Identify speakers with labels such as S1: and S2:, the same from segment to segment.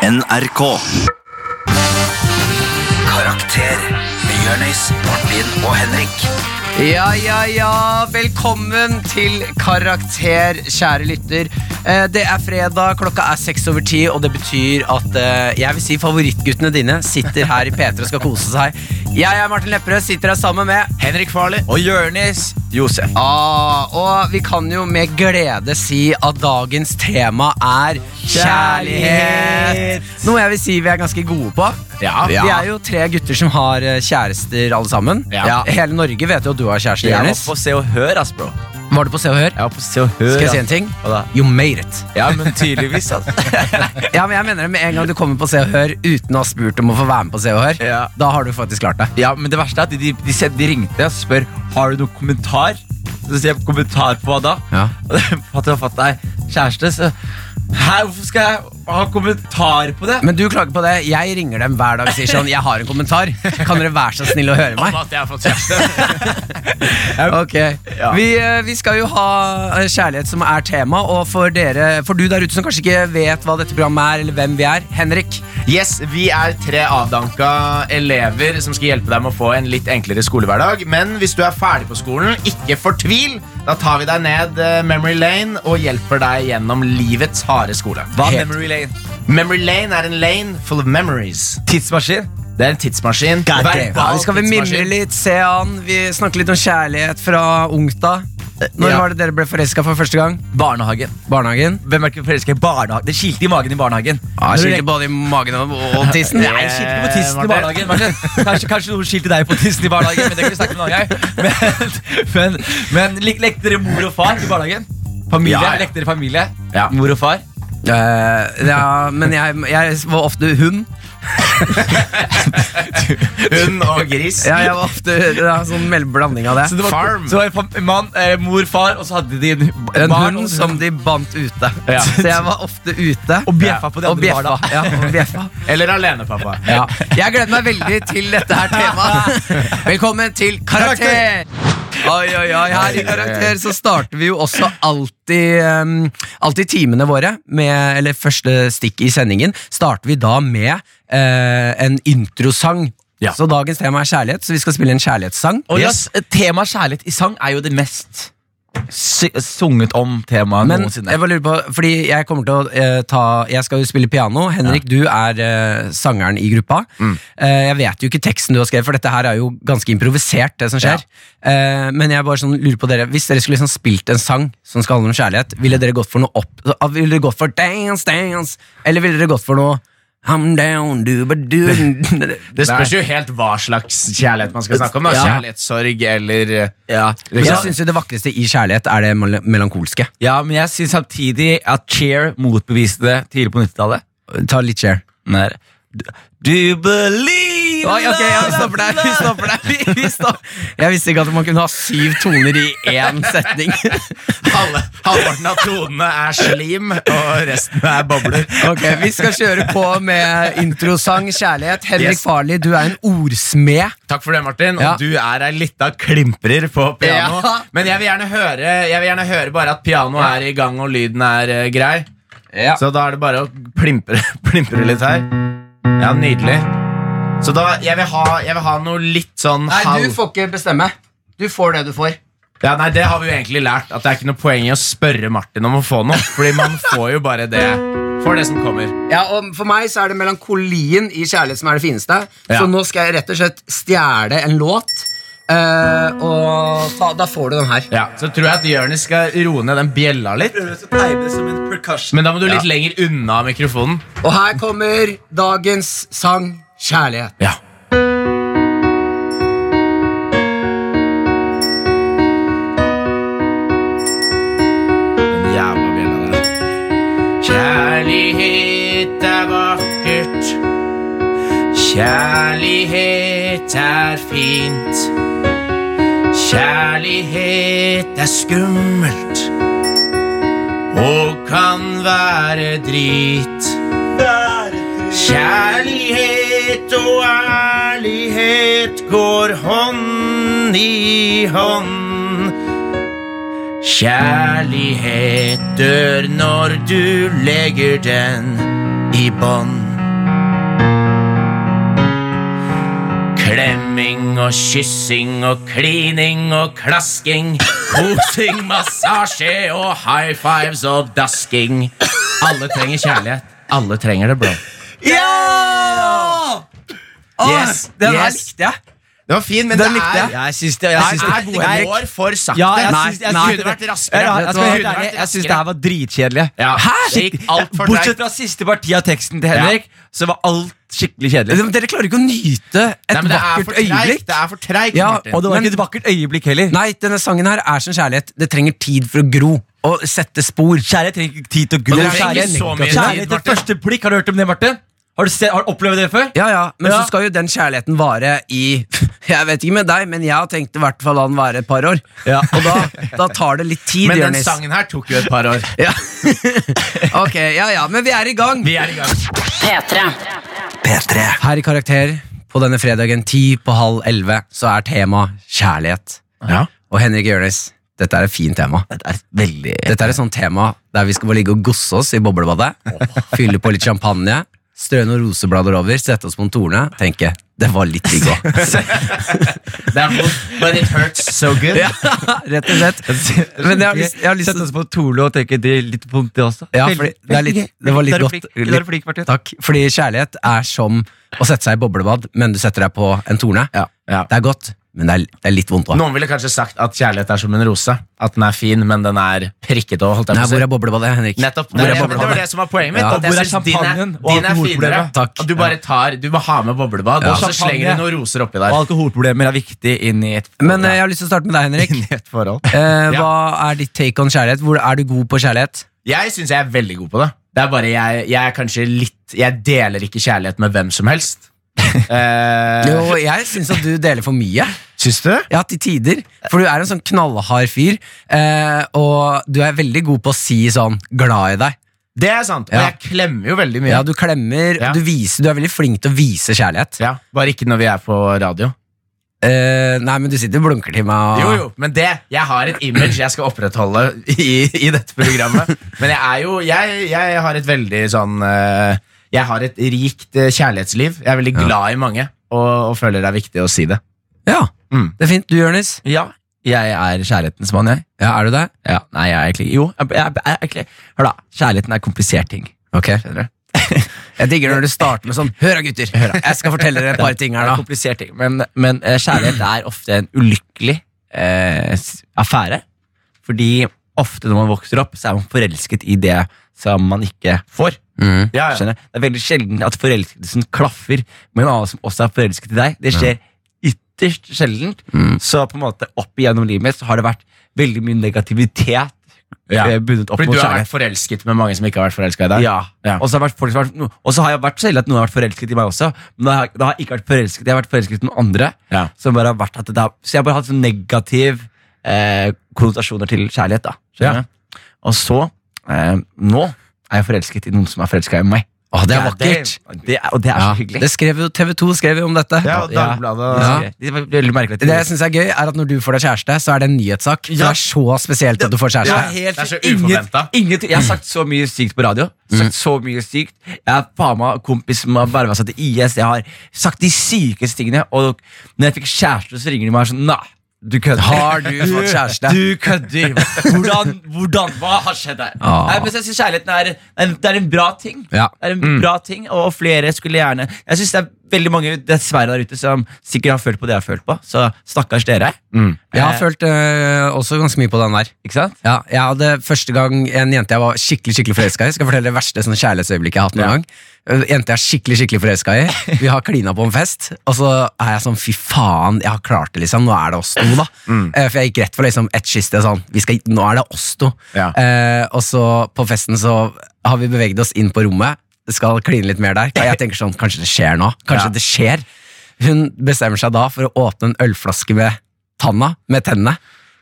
S1: NRK. Karakter med Jørnis, Martin og Henrik.
S2: Ja, ja, ja. Velkommen til Karakter, kjære lytter. Eh, Det er fredag, klokka er seks over ti, og det betyr at eh, jeg vil si favorittguttene dine sitter her i P3 og skal kose seg. Jeg er Martin Lepperød, sitter her sammen med
S3: Henrik Farley.
S1: Og Jørnis Josef.
S2: Ah, og vi kan jo med glede si at dagens tema er kjærlighet.
S3: Kjærlighet.
S2: Noe jeg vil si vi er ganske gode på.
S3: Ja.
S2: Vi er jo tre gutter som har eh, kjærester, alle sammen.
S3: Ja.
S2: Hele Norge vet jo at du har kjæreste,
S4: Jeg var
S2: Jonis.
S4: på Se og Hør, ass, bro.
S2: Var du på Se og Hør?
S4: Jeg var på Se og Hør
S2: Skal jeg si
S4: ass.
S2: en ting?
S4: Hva da?
S2: You made it.
S4: Ja, men tydeligvis, altså. ass.
S2: Ja, men jeg mener det Med en gang du kommer på Se og Hør uten å ha spurt om å få være med på Se og Hør,
S4: Ja.
S2: da har du faktisk klart det.
S4: Ja, men det verste er at de, de, de, sendte- de ringte og spør Har du noen kommentar. Så sier jeg kommentar på hva da?
S2: Ja.
S4: Og det fatter jeg fatt deg kjæreste, så Hæ, hvorfor skal jeg ha kommentar på det?
S2: Men du klager på det. Jeg ringer dem hver dag og sier sånn Jeg har en kommentar. Kan dere være så snill å høre meg?
S3: At jeg har fått kjæreste.
S2: Ok
S4: Ja.
S2: vi, eh, vi skal jo ha eh, kjærlighet som er tema, og for dere For du der ute som kanskje ikke vet hva dette programmet er, eller hvem vi er, Henrik.
S3: Yes, Vi er tre avdanka elever som skal hjelpe deg med å få en litt enklere skolehverdag. Men hvis du er ferdig på skolen, ikke fortvil. Da tar vi deg ned eh, memory lane og hjelper deg gjennom livets harde skole.
S4: Hva er
S2: Helt.
S4: memory lane?
S3: Memory lane er en lane full of memories.
S4: Tidsmaskin?
S3: Det er en tidsmaskin.
S2: Ja,
S3: Verbal
S2: vi skal vi mimre
S3: tidsmaskin.
S2: litt, se an. Vi snakker litt om kjærlighet fra ungt av. Når
S4: ja.
S2: var det dere ble forelska for første gang?
S4: Barnehagen.
S2: Barnehagen?
S4: Hvem er ikke forelska i barnehagen? Det kilte i magen i barnehagen.
S2: Ja,
S4: Når du
S2: skilte både i magen og, og tissen.
S4: Nei, jeg skilte på tissen
S3: Eh,
S4: i barnehagen. Martin. Kanskje, kanskje noen skilte deg på tissen i barnehagen, men det kan vi snakke om en annen gang. Men, men, men lik- lekte dere mor og far i barnehagen? Familie?
S3: Ja, ja.
S4: Lekte dere familie?
S3: Ja.
S4: Mor og far?
S2: Eh, ja, men jeg, jeg var ofte hund.
S3: Hund og gris.
S2: Ja, jeg var ofte ja, sånn mellom blanding av
S4: Så
S2: det.
S4: det var,
S3: Farm.
S4: Så det var en fam- mann, eh, mor, far, og så hadde de en
S2: En
S4: barn og-
S2: hund som de bandt ute.
S3: Ja.
S2: Så jeg var ofte ute.
S4: Og bjeffa på de
S2: og
S4: andre
S2: bjeffa.
S4: barna.
S2: Ja, og bjeffa.
S3: Eller alene, pappa.
S2: Ja. Jeg gleder meg veldig til dette her temaet. Velkommen til Karakter! Oi, oi, oi. Her i Karakter så starter vi jo også alltid, ehm, alltid timene våre, med, eller første stikk i sendingen, starter vi da med eh, en introsang.
S4: Ja.
S2: Så dagens tema er kjærlighet, så vi skal spille en kjærlighetssang.
S4: Og yes, Temaet kjærlighet i sang er jo det mest sy- sunget om temaet
S2: Men
S4: noensinne.
S2: jeg bare lurer på, fordi jeg kommer til å eh, ta Jeg skal jo spille piano. Henrik, du er eh, sangeren i gruppa. Eh, jeg vet jo ikke teksten du har skrevet, for dette her er jo ganske improvisert. det som skjer Eh, Men jeg bare sånn lurer på dere hvis dere skulle liksom spilt en sang som skal handle om kjærlighet, ville dere gått for noe opp ah, Ville dere gått for dance, dance? Eller ville dere gått for noe I'm down, du, ba, du
S3: Det spørs jo helt hva slags kjærlighet man skal snakke om. Da.
S2: Ja.
S3: Kjærlighetssorg eller eh,
S4: ja.
S2: Men
S4: Ja.
S2: jeg syns det vakreste i kjærlighet er det mel- melankolske.
S4: ja, men jeg syns samtidig at Cheer motbeviste det tidlig på 90-tallet.
S2: Ta litt share.
S4: Nei. Do, do you believe
S2: Oi, ok, ja, vi
S4: love,
S2: stopper der. Vi
S4: love?
S2: stopper der. Vi, vi stopp- Jeg visste ikke at man kunne ha syv toner i én setning.
S3: Alle, Halvparten av tonene er slim, og resten er bobler.
S2: Ok, Vi skal kjøre på med introsang kjærlighet. Henrik
S3: Yes.
S2: Farley, du er en ordsmed.
S3: Takk for det, Martin. Og
S2: Ja.
S3: du er ei lita klimprer på piano.
S2: Ja.
S3: Men jeg vil, gjerne høre, jeg vil gjerne høre bare at pianoet er i gang, og lyden er eh, grei.
S2: Ja.
S3: Så da er det bare å plimpre, plimpre litt her. Ja, nydelig. Så da, jeg vil ha, jeg vil ha noe litt sånn halv...
S2: får ikke bestemme. Du får det du får.
S3: Ja, nei, Det har vi jo egentlig lært. At det er ikke noe poeng i å spørre Martin om å få noe. Fordi man får jo bare det Får det som kommer.
S2: Ja, og For meg så er det melankolien i kjærlighet som er det fineste.
S3: Ja.
S2: Så nå skal jeg rett og slett stjele en låt, eh, og ta, da får du den her.
S3: Ja, Så tror jeg at Jonis skal roe ned den bjella litt. Men da må du litt lenger unna mikrofonen.
S2: Og her kommer dagens sang Kjærlighet.
S3: Ja Den jævla bjella der. Kjærlighet er vakkert. Kjærlighet er fint. Kjærlighet er skummelt og kan være drit. Kjærlighet og ærlighet går hånd i hånd. Kjærlighet dør når du legger den i bånd. Klemming og kyssing og klining og klasking. Kosing, massasje og high fives og dasking. Alle trenger kjærlighet. Alle trenger det, bro.
S2: Ja!
S3: Yes,
S2: den her
S3: yes.
S2: likte jeg.
S3: Det var fin, men
S2: Den
S3: det
S2: likte
S3: er
S2: jeg.
S4: Jeg syns det, jeg
S3: Nei,
S4: syns det er gode
S3: det
S4: Henrik.
S3: går for sakte.
S4: Ja, jeg
S3: Nei,
S4: syns- jeg
S3: det
S4: syns-
S3: kunne vært
S4: Ja,
S3: raskere.
S4: ja,
S3: Vet
S4: jeg
S3: du
S4: skal være
S3: hva? Kunne
S4: helt
S3: vært
S4: ærlig, jeg syns det
S3: raskere.
S4: her var dritkjedelig.
S3: Ja, det gikk alt for
S4: Bortsett
S3: treigt.
S4: fra siste parti av teksten til Henrik, så var alt skikkelig kjedelig.
S2: Dere klarer ikke å nyte et
S3: Nei, men det er
S2: vakkert
S3: for treigt.
S2: øyeblikk.
S3: Det er for treigt,
S2: Ja,
S3: Martin.
S4: Og det var
S2: Men-
S4: ikke et vakkert øyeblikk heller.
S2: Nei, denne sangen her er som kjærlighet. Det trenger tid for å gro og sette spor.
S4: Kjærlighet trenger ikke tid til å gro.
S3: Og det trenger
S4: Kjærlighet
S3: så mye tid,
S4: kjærlighet til
S3: Martin.
S4: første blikk. Har du hørt om det, Martin? Har du, se, har du opplevd det før?
S2: Ja, ja, Men
S4: Ja.
S2: så skal jo den kjærligheten vare i Jeg vet ikke med deg, men jeg har tenkt i hvert fall la den vare et par år.
S4: Ja.
S2: Og da, da tar det litt tid,
S3: Men den
S2: Jonis.
S3: sangen her tok jo et par år.
S2: Ja. ok, ja ja, men vi er i gang.
S3: Vi er i gang.
S5: P3.
S1: P3
S2: Her i Karakter på denne fredagen ti på halv elleve så er tema kjærlighet.
S3: Ja.
S2: Og Henrik Jonis, dette er et fint tema.
S4: Det er veldig
S2: Dette er et sånt tema der vi skal bare ligge og gosse oss i boblebadet. Fylle på litt champagne, strø noen roseblader over, sette oss på en torne. Tenke det var litt digg òg.
S3: Det er vondt, but it hurts so good.
S2: Ja, rett og slett. Men jeg har lyst, jeg har lyst
S4: Sett
S2: til
S4: oss på Tolo og tenke det er litt vondt, det også.
S2: ja, fordi det, er litt, det var litt
S4: Da er du
S2: godt.
S4: flink. Da er du flink, Martin.
S2: Takk. Fordi kjærlighet er som å sette seg i boblebad, men du setter deg på en torne.
S3: Ja, ja.
S2: Det er godt, men det er, det er litt vondt òg.
S3: Noen ville kanskje sagt at kjærlighet er som en rose. At den er fin, men den er prikket og holdt jeg på å si.
S2: Hvor er boblebadet, Henrik?
S3: Nettopp,
S2: Hvor
S3: det,
S2: er
S3: det, det var
S2: boblebadet?
S3: det som var poenget mitt.
S2: Ja.
S3: At
S4: Og
S3: jeg
S4: hvor er
S3: synes din
S4: champagnen og
S3: din er finere.
S4: alkoholproblemet?
S2: Takk.
S3: At du bare tar, du må ha med boblebadd,
S2: Ja.
S3: og så
S4: Champagne.
S3: slenger du noen roser oppi der.
S4: Og alkoholproblemer er viktig inn i et
S2: Men eh, jeg har lyst til å starte med deg, Henrik.
S3: I et forhold.
S2: Eh,
S3: Ja.
S2: hva er ditt take on kjærlighet? Hvor Er du god på kjærlighet?
S3: Jeg syns jeg er veldig god på det. Det er bare jeg, jeg er kanskje litt Jeg deler ikke kjærlighet med hvem som helst. Eh,
S2: Jo, jeg syns at du deler for mye.
S3: syns du?
S2: Ja, til tider. For du er en sånn knallhard fyr, eh, og du er veldig god på å si sånn 'glad i deg'.
S3: Det er sant. Og
S2: Ja.
S3: jeg klemmer jo veldig mye.
S2: Ja, du klemmer,
S3: Ja.
S2: og du viser Du er veldig flink til å vise kjærlighet.
S3: Ja, bare ikke når vi er på radio.
S2: Eh, nei, men du sitter og blunker til meg.
S4: Ah.
S2: Og...
S3: Jo, jo, men det, jeg har et image jeg skal opprettholde i, i dette programmet. Men jeg er jo Jeg, jeg har et veldig sånn eh, Jeg har et rikt eh, kjærlighetsliv. Jeg er veldig glad i mange og, og føler det er viktig å si det.
S2: Ja,
S3: Mm.
S2: det er fint. Du, Jonis?
S4: Ja, jeg er kjærlighetens mann, jeg.
S2: Ja, er du det?
S4: Ja, nei, jeg er egentlig Jo, jeg, jeg, jeg, jeg, hør da. Kjærligheten er komplisert ting.
S2: Ok.
S4: Skjønner du?
S2: Jeg digger når du starter med sånn 'Hør da, gutter'. Jeg skal fortelle dere et par ting
S4: Det
S2: her,
S4: er
S2: da.
S4: komplisert ting Men, men eh, kjærlighet er ofte en ulykkelig eh, s- affære. Fordi ofte når man vokser opp, så er man forelsket i det som man ikke får.
S2: Mm.
S3: Ja, ja.
S4: Skjønner? du? Det er veldig sjelden at forelskelsen klaffer med en annen som også er forelsket i deg. Det skjer ytterst sjeldent. Så på en måte opp igjennom livet mitt så har det vært veldig mye negativitet
S3: Ja.
S4: eh, bundet opp
S3: Fordi
S4: mot
S3: du har
S4: kjærlighet.
S3: vært forelsket med mange som ikke har vært forelska i deg?
S4: Ja.
S3: Ja.
S4: Og så har, det vært folk som har vært, no- og så har jeg vært så heldig at noen har vært forelsket i meg også. Men da har, jeg- da har jeg ikke vært forelsket Jeg har vært forelsket i noen andre.
S3: Ja.
S4: Som bare har vært at det da, så jeg har bare hatt sånn negativ eh, konnotasjoner til kjærlighet. da
S3: Ja.
S4: Skjønner du? Og så, eh, nå er jeg forelsket i noen som er forelska i meg.
S2: Å, det er
S4: Ja,
S2: vakkert.
S4: Det, det, er- og det er
S2: Ja,
S4: så hyggelig.
S2: det skrev jo TV2 skrev jo om dette.
S3: Ja, og Dagbladet
S2: Ja.
S4: Det var veldig merkelig. at
S2: Det jeg synes er gøy, er at når du får deg kjæreste, så er det en nyhetssak. For
S4: Ja.
S2: Det er så spesielt at du får
S4: Det
S2: kjæreste.
S4: er helt
S3: Det er så
S4: inget,
S3: uforventet. Mm.
S4: inget, Jeg har sagt så mye sykt på radio. Sagt så mye sykt Jeg er faen meg kompis som har verva seg til IS. Jeg har sagt de sykeste tingene. Og når jeg fikk kjæreste, så ringer de meg sånn Nei, du kødder.
S2: Har du fått kjæreste?
S4: Du kødder. Hvordan, hvordan, Hva har skjedd her?
S2: Ah.
S4: Nei, men jeg synes Kjærligheten er en, det er en bra ting.
S2: Ja.
S4: Det er en
S3: Mm.
S4: bra ting, Og flere skulle gjerne Jeg synes det er veldig mange dessverre der ute som sikkert har følt på det jeg har følt på. Så stakkars dere.
S3: Mm.
S4: Eh.
S2: Jeg har følt øh, også ganske mye på den der.
S4: Ikke sant?
S2: Eh. Ja, jeg hadde første gang en jente jeg var skikkelig skikkelig forelska i. Skal jeg fortelle det verste sånn kjærlighetsøyeblikket jeg har hatt noen gang? Øh, Jente jeg er skikkelig skikkelig forelska i. Vi har klina på en fest, og så er jeg sånn fy faen, jeg har klart det, liksom. Nå er det oss to, da. Eh, For jeg gikk rett for liksom ett kyss til sånn. Vi skal, nå er det oss to.
S3: Ja.
S2: Eh, og så på festen så har vi beveget oss inn på rommet. Det skal kline litt mer der. Og jeg tenker sånn, kanskje det skjer nå. Kanskje
S3: Ja.
S2: det skjer. Hun bestemmer seg da for å åpne en ølflaske med tanna, med tennene.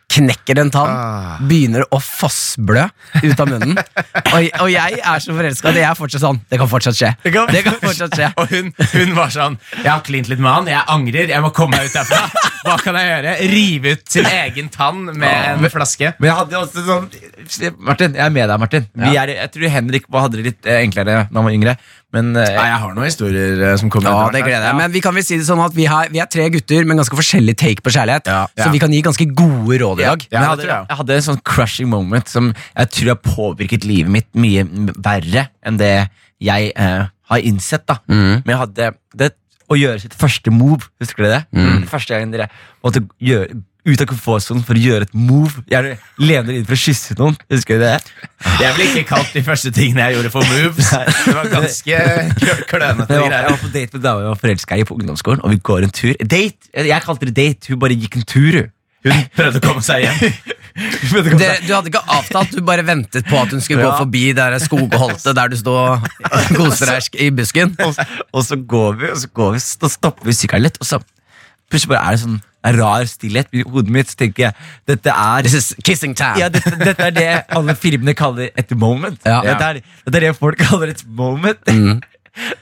S2: Knekker en tann,
S3: Ah.
S2: begynner å fossblø ut av munnen. og, og jeg er så forelska at jeg er fortsatt sånn. Det kan fortsatt skje. Det kan, fortsatt skje.
S3: Og hun, hun var sånn Jeg har klint litt med han, jeg angrer, jeg må komme meg ut derfra. Hva kan jeg gjøre? Rive ut sin egen tann med en flaske?
S4: Men jeg hadde også sånn Martin, jeg er med deg, Martin. Vi er, jeg tror Henrik var- hadde det litt eh, enklere da han var yngre. Men eh,
S3: Nei, jeg har noen historier eh, som kommer.
S2: Ja,
S3: etter hvert
S2: det
S3: her.
S2: gleder jeg Men vi kan vel si det sånn at vi, har, vi er tre gutter med ganske forskjellig take på kjærlighet,
S4: Ja,
S2: så
S3: ja.
S2: vi kan gi ganske gode råd i dag.
S4: Men jeg,
S3: det
S4: hadde,
S3: tror jeg.
S4: jeg hadde en sånn crushing moment som jeg tror har påvirket livet mitt mye m- verre enn det jeg eh, har innsett. da
S3: Mm.
S4: Men jeg hadde det å gjøre sitt første move. Husker dere det?
S3: Mm.
S4: Det Første gangen dere måtte gjøre ut av komfortsonen for å gjøre et move. Gjerne lene dere inn for å kysse noen. Husker dere det?
S3: Jeg ville ikke kalt de første tingene jeg gjorde for moves. Det var ganske klø- klønete
S4: Jeg var, jeg
S3: greier.
S4: var på date med dama jeg var forelska i på ungdomsskolen, og vi går en tur. Date! Jeg kalte det date, hun bare gikk en tur, hun.
S3: Hun prøvde å komme seg hjem.
S2: Dere, du hadde ikke avtalt, du bare ventet på at hun skulle gå
S4: Ja.
S2: forbi der skogholtet der du står og koser deg i busken.
S4: og, og så går vi, og så går vi, da stopper vi sykkelen litt, og så plutselig bare er det sånn en rar stillhet i hodet mitt, så tenker jeg, dette er...
S2: This is kissing time.
S4: Ja, dette, dette er det alle filmene kaller et moment.
S2: Ja.
S4: Dette, er, dette er det folk kaller et moment.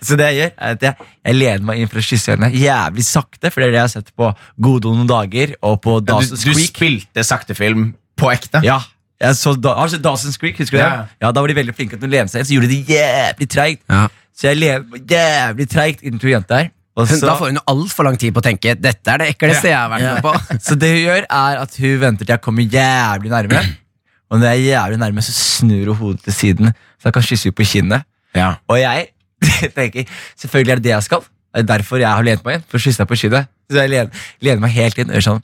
S4: Så det jeg gjør, er at jeg, jeg lener meg inn for å kysse henne jævlig sakte, for det er det jeg har sett på Gode noen dager, og på
S3: Du,
S4: Dawson's
S3: du
S4: Creek.
S3: spilte saktefilm på ekte.
S4: Ja, jeg så, da, har du sett Dawson's Creek, husker du
S3: Ja, ja.
S4: det? Ja, da var de veldig flinke til å lene seg inn, så gjorde de det jævlig treigt.
S2: Ja.
S4: Så jeg lever jævlig treigt inn til jenta her. Og
S2: Hun,
S4: så,
S2: da får hun jo altfor lang tid på å tenke Dette er det ekleste jeg har vært med på.
S4: så det hun gjør, er at hun venter til jeg kommer jævlig nærme. Og når jeg er jævlig nærme, så snur hun hodet til siden, så jeg kan kysse henne på kinnet.
S3: Ja.
S4: Og jeg tenker selvfølgelig er det det jeg skal. Det er derfor jeg har lent meg inn. For å kysse deg på kinnet. Så jeg lener, lener meg helt inn og gjør sånn.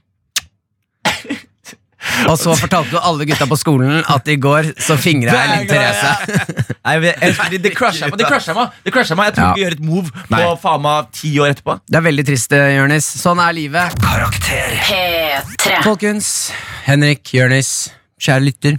S2: Og så fortalte du alle gutta på skolen at i går så fingra jeg Linn Therese.
S4: Nei, men jeg, jeg, det crusha meg. Det crusha meg. Det crusha meg. Jeg tror
S2: Ja.
S4: ikke vi gjør et move på
S3: Nei.
S4: faen meg ti år etterpå.
S2: Det er veldig trist, eh, Jonis. Sånn er livet.
S1: Karakter.
S5: P3.
S2: Folkens, Henrik, Jonis, kjære lytter.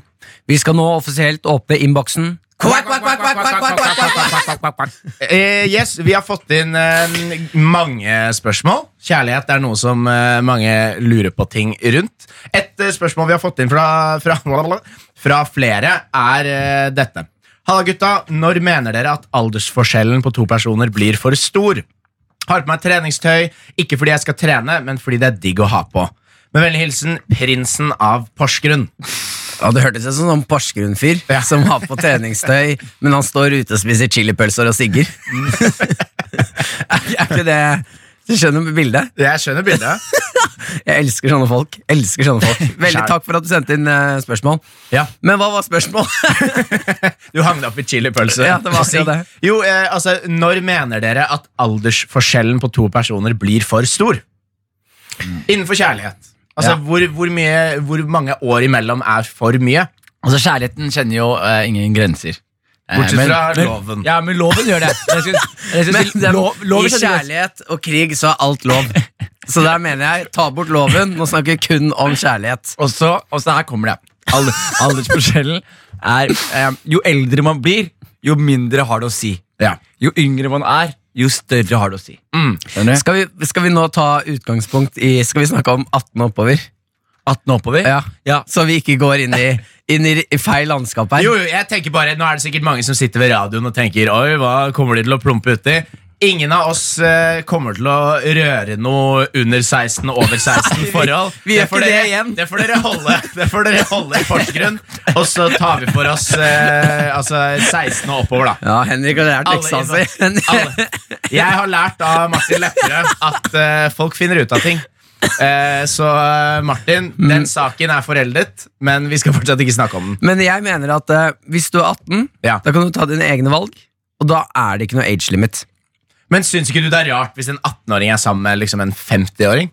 S2: Vi skal nå offisielt åpne innboksen. Kvakk, kvakk, kvakk, kvakk, kvakk, kvakk, kvakk, kvakk, kvakk, kvakk, kvakk, kvakk.
S3: Eh, yes, Vi har fått inn eh, mange spørsmål. Kjærlighet er noe som eh, mange lurer på ting rundt. Et eh, spørsmål vi har fått inn fra, fra, fra flere, er eh, dette. Halla, gutta. Når mener dere at aldersforskjellen på to personer blir for stor? Har på meg treningstøy, ikke fordi jeg skal trene, men fordi det er digg å ha på. Med vennlig hilsen prinsen av Porsgrunn.
S2: Ja, Det hørtes ut som en sånn Porsgrunn-fyr som har på treningstøy, men han står ute og spiser chilipølser og sigger. er, er ikke det Du skjønner bildet?
S3: Jeg skjønner bildet.
S2: Jeg elsker sånne folk. Elsker sånne folk. Veldig
S3: Skjær.
S2: takk for at du sendte inn eh, spørsmål.
S3: Ja.
S2: Men hva var spørsmålet?
S3: Du hang deg opp i chilipølse.
S2: Ja, det var akkurat det.
S3: Jo, eh, altså, når mener dere at aldersforskjellen på to personer blir for stor? Innenfor kjærlighet. Altså,
S4: Ja.
S3: hvor, hvor, mye, hvor mange år imellom er for mye?
S4: Altså, kjærligheten kjenner jo eh, ingen grenser. Eh,
S3: Bortsett
S4: men-
S3: fra
S4: men-
S3: loven.
S4: Ja, men loven gjør det. Jeg synes, jeg synes,
S2: Men det-
S4: lov, loven
S2: I kjærlighet og krig så er alt lov. Så der mener jeg, ta bort loven. Nå snakker vi kun om kjærlighet.
S4: Og så, og så her kommer det. Alder, aldersforskjellen er eh, Jo eldre man blir, jo mindre har det å si.
S3: Ja. Mm.
S4: Jo yngre man er, jo større har det å si. Skjønner du?
S2: Skal vi, skal vi nå ta utgangspunkt i Skal vi snakke om 18 og oppover?
S4: 18 og oppover.
S2: Ja.
S4: Ja.
S2: Så vi ikke går inn i, inn i, i feil landskap her.
S3: Jo, jo, jeg tenker bare, Nå er det sikkert mange som sitter ved radioen og tenker Oi, hva kommer de til å plumpe uti? Ingen av oss eh, kommer til å røre noe under 16 og over 16 forhold.
S2: vi gjør
S3: får
S2: ikke det
S3: dere-
S2: igjen.
S3: Det får dere holde Det får dere holde i forsgrunn. Og så tar vi for oss eh, altså 16 og oppover, da.
S2: Ja, Henrik har lært leksa
S3: Alle- Alle. Jeg har lært av Martin Lepperød at eh, folk finner ut av ting. Eh, så eh, Martin,
S2: Mm.
S3: den saken er foreldet, men vi skal fortsatt ikke snakke om den.
S2: Men jeg mener at eh, hvis du er 18,
S3: Ja.
S2: da kan du ta dine egne valg. Og da er det ikke noe age limit.
S3: Men syns ikke du det er rart hvis en 18-åring er sammen med liksom en 50-åring?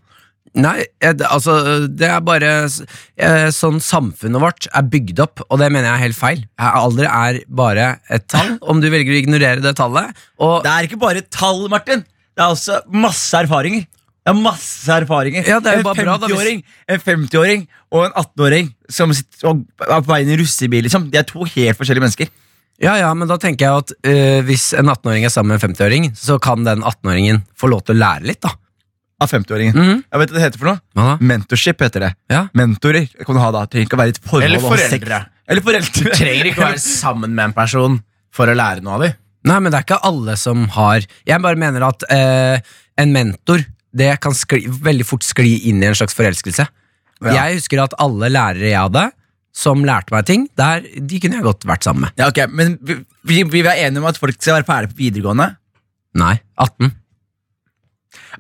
S2: Nei, eh, det- altså Det er bare s- eh, sånn samfunnet vårt er bygd opp, og det mener jeg er helt feil. Eh, Alder er bare et tall, om du velger å ignorere det tallet. Og
S4: Det er ikke bare tall, Martin. Det er også masse erfaringer. Det er masse erfaringer.
S2: Ja, det er jo bare
S4: En
S2: bra da, hvis-
S4: 50-åring, En 50-åring og en 18-åring som sitter og er på vei inn i russebil. Liksom. De er to helt forskjellige mennesker.
S2: ja, ja, men da tenker jeg at eh, hvis en 18-åring er sammen med en 50-åring, så kan den 18-åringen få lov til å lære litt, da.
S4: Av 50-åringen.
S2: Mhm.
S4: Jeg vet hva det heter for noe.
S2: Hva da?
S4: Mentorship heter det.
S2: Ja.
S4: Mentorer kan du ha da. Trenger ikke å være i et forhold.
S3: Eller
S4: og ha sex.
S3: foreldre.
S4: Eller foreldre.
S3: Du trenger ikke å være sammen med en person for å lære noe av dem.
S2: Nei, men det er ikke alle som har Jeg bare mener at eh, en mentor Det kan skli, veldig fort skli inn i en slags forelskelse. Jeg husker at alle lærere jeg hadde, som lærte meg ting, der, de kunne jeg godt vært sammen med.
S4: Ja, ok, Men vi, vi, vi er enige om at folk skal være ferdig på videregående?
S2: Nei, 18.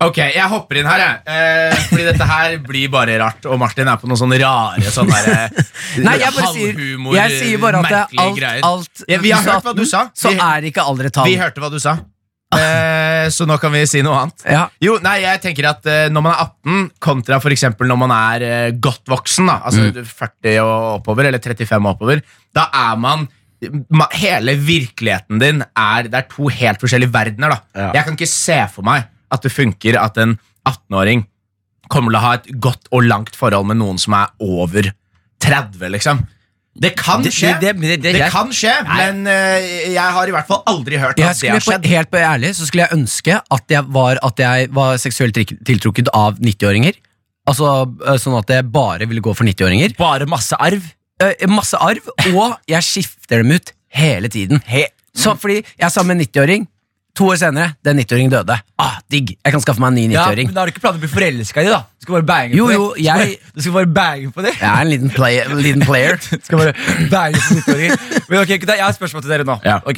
S3: Ok, jeg hopper inn her, jeg. Eh, fordi dette her blir bare rart. Og Martin er på noen sånne rare sånne der, eh,
S2: Nei, jeg bare sier,
S3: halvhumor,
S2: jeg sier bare at det er
S3: merkelige
S2: alt,
S3: greier.
S2: alt
S3: Ja, vi har
S2: hvis det er
S3: hørt hva du
S2: 18,
S3: sa.
S2: Så
S3: Vi-
S2: er ikke aldri tall.
S3: Vi hørte hva du sa, eh, så nå kan vi si noe annet.
S2: Ja.
S3: Jo, nei, jeg tenker at eh, Når man er 18, kontra for eksempel når man er eh, godt voksen, da, altså
S4: Mm.
S3: 40 og oppover, eller 35 og oppover, da er man ma- Hele virkeligheten din er Det er to helt forskjellige verdener. da
S4: Ja.
S3: Jeg kan ikke se for meg at det funker at en 18-åring kommer til å ha et godt og langt forhold med noen som er over 30, liksom. Det kan
S4: Det-
S3: skje,
S4: det- det- det- det- jeg-
S3: kan skje men eh, jeg har i hvert fall aldri hørt
S2: Jeg
S3: at det
S2: skulle,
S3: har
S2: på,
S3: skjedd.
S2: helt på ærlig så skulle jeg ønske at jeg var, at jeg var seksuelt trik- tiltrukket av 90-åringer. Altså øh, Sånn at jeg bare ville gå for 90-åringer.
S4: Bare masse arv?
S2: Øh, Masse arv, og jeg skifter dem ut hele tiden. Så, fordi jeg er sammen med en 90-åring. To år senere, den 90-åringen døde. Ah, Digg! Jeg kan skaffe meg en ny
S4: Ja,
S2: 90-åring.
S4: men Da har du ikke planer om å bli forelska i det, da? Du skal bare bange
S2: Jo,
S4: på det.
S2: jo,
S4: Du skal
S2: jeg-
S4: bare- Du skal bare bange på det.
S2: Jeg er en liten, play, liten player.
S4: Du skal bare bange på nyttåringer. Men ok, gutta, Jeg har et spørsmål til dere nå.
S3: Ja.
S4: Ok?